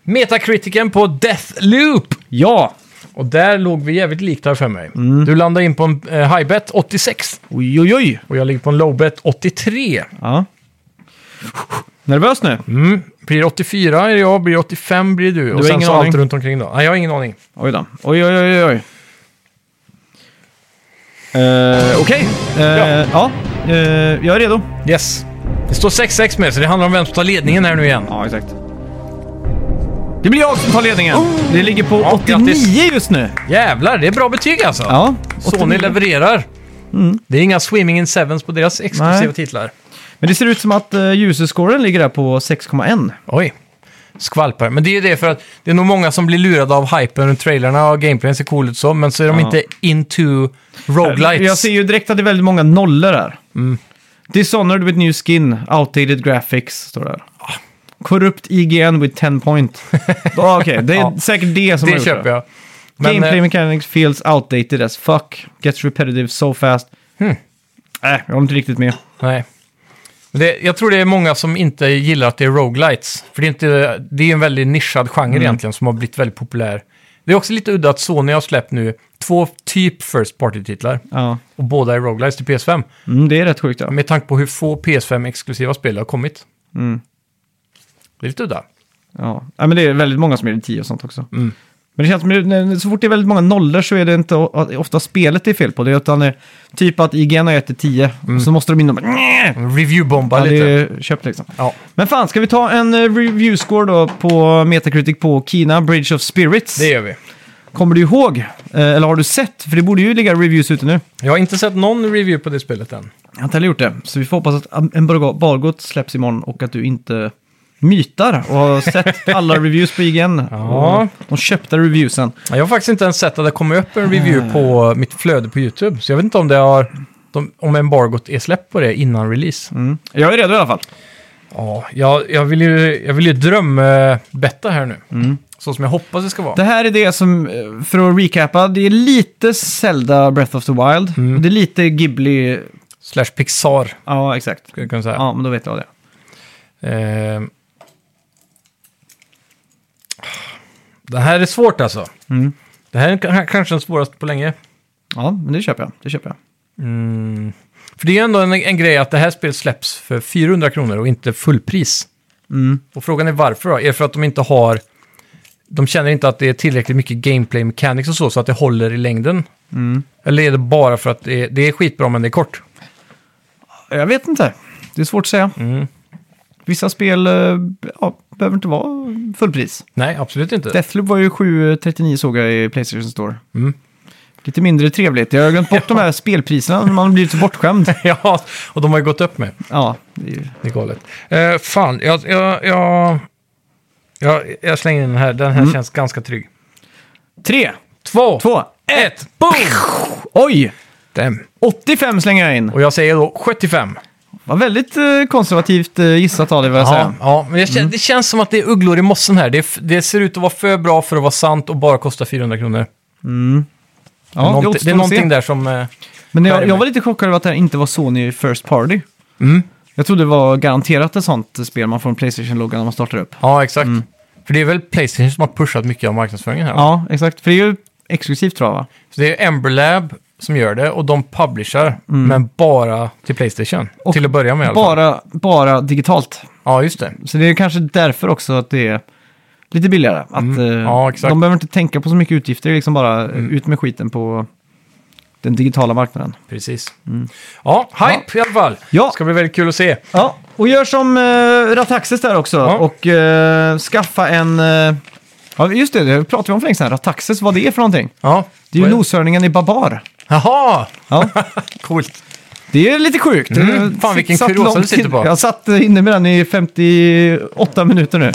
S2: Metakritiken på Deathloop.
S1: Ja!
S2: Och där låg vi jävligt likt här för mig.
S1: Mm.
S2: Du landade in på en eh, high bet 86
S1: Oj, oj, oj!
S2: och jag ligger på en low bet 83.
S1: Ja. Nervös nu?
S2: Mm. Blir 84 är jag, blir 85 blir du. och sen
S1: ingen
S2: så
S1: aning.
S2: allt runt omkring då. Nej, jag har ingen aning.
S1: Oj då. Oj, oj, oj, oj. Eh, Okej. Eh,
S2: Ja.
S1: ja. Eh, jag är redo.
S2: Yes. Det står 6-6 med, så det handlar om vem som tar ledningen här nu igen.
S1: Ja, exakt. Det blir jag som tar ledningen. Det ligger på
S2: Oh. Ja,
S1: 89
S2: grattis.
S1: just nu.
S2: Jävlar, det är bra betyg alltså.
S1: Ja,
S2: Sony
S1: 89.
S2: levererar. Det är inga Swimming in Sevens på deras exklusiva
S1: Nej.
S2: titlar.
S1: Men det ser ut som att uh, user-scoren ligger där på 6,1.
S2: Oj, skvalpar. Men det är ju det för att det är nog många som blir lurade av hypen och trailerna och gameplayen ser cool ut så, men så är de
S1: Ja.
S2: inte into roguelites.
S1: Jag ser ju direkt att det är väldigt många nollor där.
S2: Mm.
S1: Dishonored with new skin, outdated graphics, står det här.
S2: Ah.
S1: Corrupt IGN with 10
S2: [laughs]
S1: point. Ja, Okej, det är
S2: Ja.
S1: säkert det som har
S2: det
S1: gjort
S2: köper jag. Men,
S1: Gameplay
S2: eh,
S1: mechanics feels outdated as fuck. Gets repetitive so fast.
S2: Hmm.
S1: Nej, jag håller inte riktigt med.
S2: nej. Men Det, jag tror det är många som inte
S1: Mm.
S2: gillar att det är roguelites. För det är, inte, det är en väldigt nischad genre egentligen som har blivit väldigt populär Det är också lite udda att Sony har släppt nu två typ First Party-titlar.
S1: Ja.
S2: Och båda är roguelites till PS5.
S1: Mm, det är rätt sjukt. Ja.
S2: Med tanke på hur få PS5-exklusiva spel har kommit.
S1: Mm.
S2: Det är lite udda.
S1: Ja. ja, men det är väldigt många som är i 10 och sånt också.
S2: Mm.
S1: Men det känns som att när- så fort det är väldigt många nollor så är det inte o- att- ofta spelet det är fel på. Det är utan eh, typ att IGN har gett det 10 och så måste de in och bara, "Nä!"
S2: Review-bomba
S1: ja, det
S2: Mm. lite.
S1: är köpt liksom.
S2: Ja.
S1: Men fan, ska vi ta en eh, review score då på Metacritic på Kina, Bridge of Spirits?
S2: det gör vi.
S1: Kommer du ihåg? Eh, Eller har du sett? För det borde ju ligga reviews ute nu.
S2: Jag har inte sett någon review på det spelet än.
S1: Jag har inte heller gjort det. Så vi får hoppas att Am- embargot släpps imorgon och att du inte mytar och har sett
S2: [laughs]
S1: alla reviews på IGN.
S2: Ja.
S1: Och De köpta reviewsen.
S2: Jag har faktiskt inte ens sett att det kommer upp en review på mitt flöde på YouTube. Så jag vet inte om det har... de- Om embargot är släppt på det innan release.
S1: Mm. Jag är redo i alla fall.
S2: Ja, jag, jag vill ju, jag vill ju drömbetta här nu. Så som jag hoppas det ska vara.
S1: Det här är det som, eh, för att recapa, det är lite Zelda Breath of the Wild.
S2: Mm.
S1: Och Det är lite Ghibli,
S2: Slash Pixar, skulle
S1: ja exakt.
S2: jag kunna säga.
S1: Ja, men då vet jag det.
S2: Eh, det här är svårt alltså.
S1: Mm.
S2: Det här är k- kanske den svåraste på länge.
S1: Ja, men det köper jag. Det köper jag.
S2: För det är ju ändå en, en grej att det här spelet släpps för 400 kronor och inte fullpris.
S1: Mm.
S2: Och frågan är varför då? Är det för att de inte har... De känner inte att det är tillräckligt mycket gameplay mechanics och så, så att det håller i längden? Eller är det bara för att det är, det är skitbra men det är kort?
S1: Jag vet inte. Det är svårt att säga.
S2: Mm.
S1: Vissa spel eh, ja, behöver inte vara fullpris.
S2: Nej, absolut inte.
S1: Deathloop var ju 7,39 såg jag i Playstation Store.
S2: Mm.
S1: Lite mindre trevligt. Jag har glömt bort de här spelpriserna. Man har blivit
S2: [laughs]
S1: så bortskämd.
S2: [laughs] ja, och de har ju gått upp med.
S1: Ja, det är ju...
S2: Det är galet. Eh, fan, jag, jag, jag, jag, jag slänger in den här. Den här känns ganska trygg.
S1: Tre,
S2: Mm. Två,
S1: två,
S2: ett, boom!
S1: oj!
S2: Damn.
S1: 85 slänger jag in.
S2: Och jag säger då 75.
S1: Var väldigt eh, konservativt eh, gissat av dig vad jag
S2: Ja,
S1: säger.
S2: ja, men det,
S1: Mm.
S2: kän, det känns som att det är ugglor i mossen här. Det, är f- det ser ut att vara för bra för att vara sant och bara kosta 400 kronor.
S1: Ja,
S2: det, är någonting- det är någonting
S1: där.
S2: där som... eh,
S1: Men jag,
S2: Nej,
S1: jag
S2: men-
S1: var lite chockad över att det här inte var Sony First Party.
S2: Mm.
S1: Jag trodde det var garanterat ett sånt spel man får en Playstation-logga när man startar upp.
S2: Ja, exakt. För det är väl Playstation som har pushat mycket av marknadsföringen här. va?
S1: Mm. Ja, exakt. För det är ju exklusivt tror jag va?
S2: Så det är Emberlab som gör det och de publishar, men bara till Playstation.
S1: Mm. Och
S2: till att börja med i alla fall.
S1: Bara, bara digitalt.
S2: Ja, just det.
S1: Så det är kanske därför också att det är lite billigare. Att, eh,
S2: Mm. Ja, exakt. Mm.
S1: De behöver inte tänka på så mycket utgifter, det är liksom bara eh, ut med skiten på den digitala marknaden.
S2: Precis. Ja, hype i alla fall.
S1: Mm. Ja.
S2: Ska bli väldigt kul att se.
S1: Ja, och gör som uh, Rataxis där också
S2: Ja.
S1: och eh, skaffa en... eh, ja, just det, det pratade vi om för länge sedan. Rataxis, vad det är för någonting.
S2: Ja.
S1: Det är ju
S2: Vad
S1: noshörningen i Babar. [laughs]
S2: Jaha!
S1: Ja,
S2: Coolt.
S1: det är lite sjukt. Jag
S2: Mm. fan, vilken
S1: satt
S2: kuriosa
S1: långt
S2: du sitter på.
S1: in- Jag satt eh, inne med den i 58 minuter nu.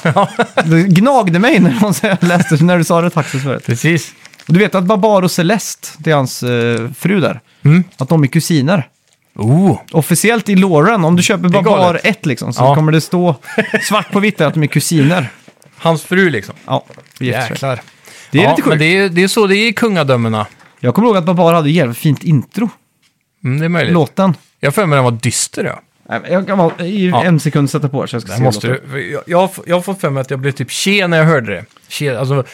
S1: Det gnagde mig när, någon [laughs] sa- jag läste, när du sa Rataxis förut.
S2: Precis.
S1: Och du vet att Babar och Celeste, det är hans eh, fru där,
S2: Mm.
S1: att de är kusiner.
S2: Oh.
S1: Officiellt i loren, om du köper
S2: Det är
S1: Babar
S2: galet.
S1: 1 liksom, så
S2: Ja.
S1: kommer
S2: [laughs]
S1: det stå svart på vitt där att de är kusiner.
S2: Hans fru liksom.
S1: Ja, och gifter sig.
S2: Jäklar.
S1: Det är
S2: ja,
S1: lite
S2: men
S1: sjukt.
S2: det är, det är så det är i kungadömena.
S1: Jag kommer ihåg att Babar hade jävligt fint intro,
S2: Mm, det är möjligt.
S1: låten.
S2: Jag har för mig den var dyster. Ja.
S1: Nej, men Jag kan bara, i
S2: Ja.
S1: en sekund sätta på så jag ska
S2: Den
S1: se
S2: måste
S1: låten.
S2: du, jag, jag, har f- jag har fått för mig att jag blev typ tje när jag hörde det. Tje, alltså,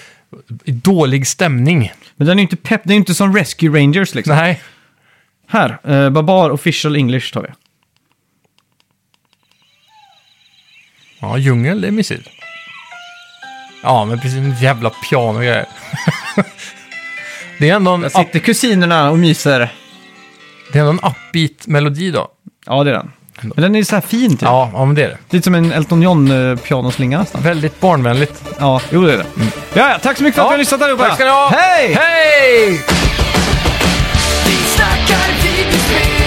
S2: i dålig stämning.
S1: Men den är ju inte pepp, den är ju inte som Rescue Rangers liksom.
S2: Nej.
S1: Här, eh, Babar official English tar vi.
S2: Ja, djungel, det är mysigt. Ja, men precis. En jävla piano och grejer. [laughs] det är ändå en,
S1: Där
S2: up,
S1: sitter kusinerna och myser.
S2: det är ändå en upbeat melodi då.
S1: Ja, det är den. Men den är ju så här fin typ.
S2: Ja, ja, men det är det.
S1: Lite som en Elton John-pianoslinga nästan.
S2: Väldigt barnvänligt.
S1: Ja, jo det är det. Ja, Mm. ja, tack så mycket för att ni har lyssnat allihopa.
S2: Tack ska ni ha.
S1: Hej!
S2: Hej!
S3: Vi snackar videospel,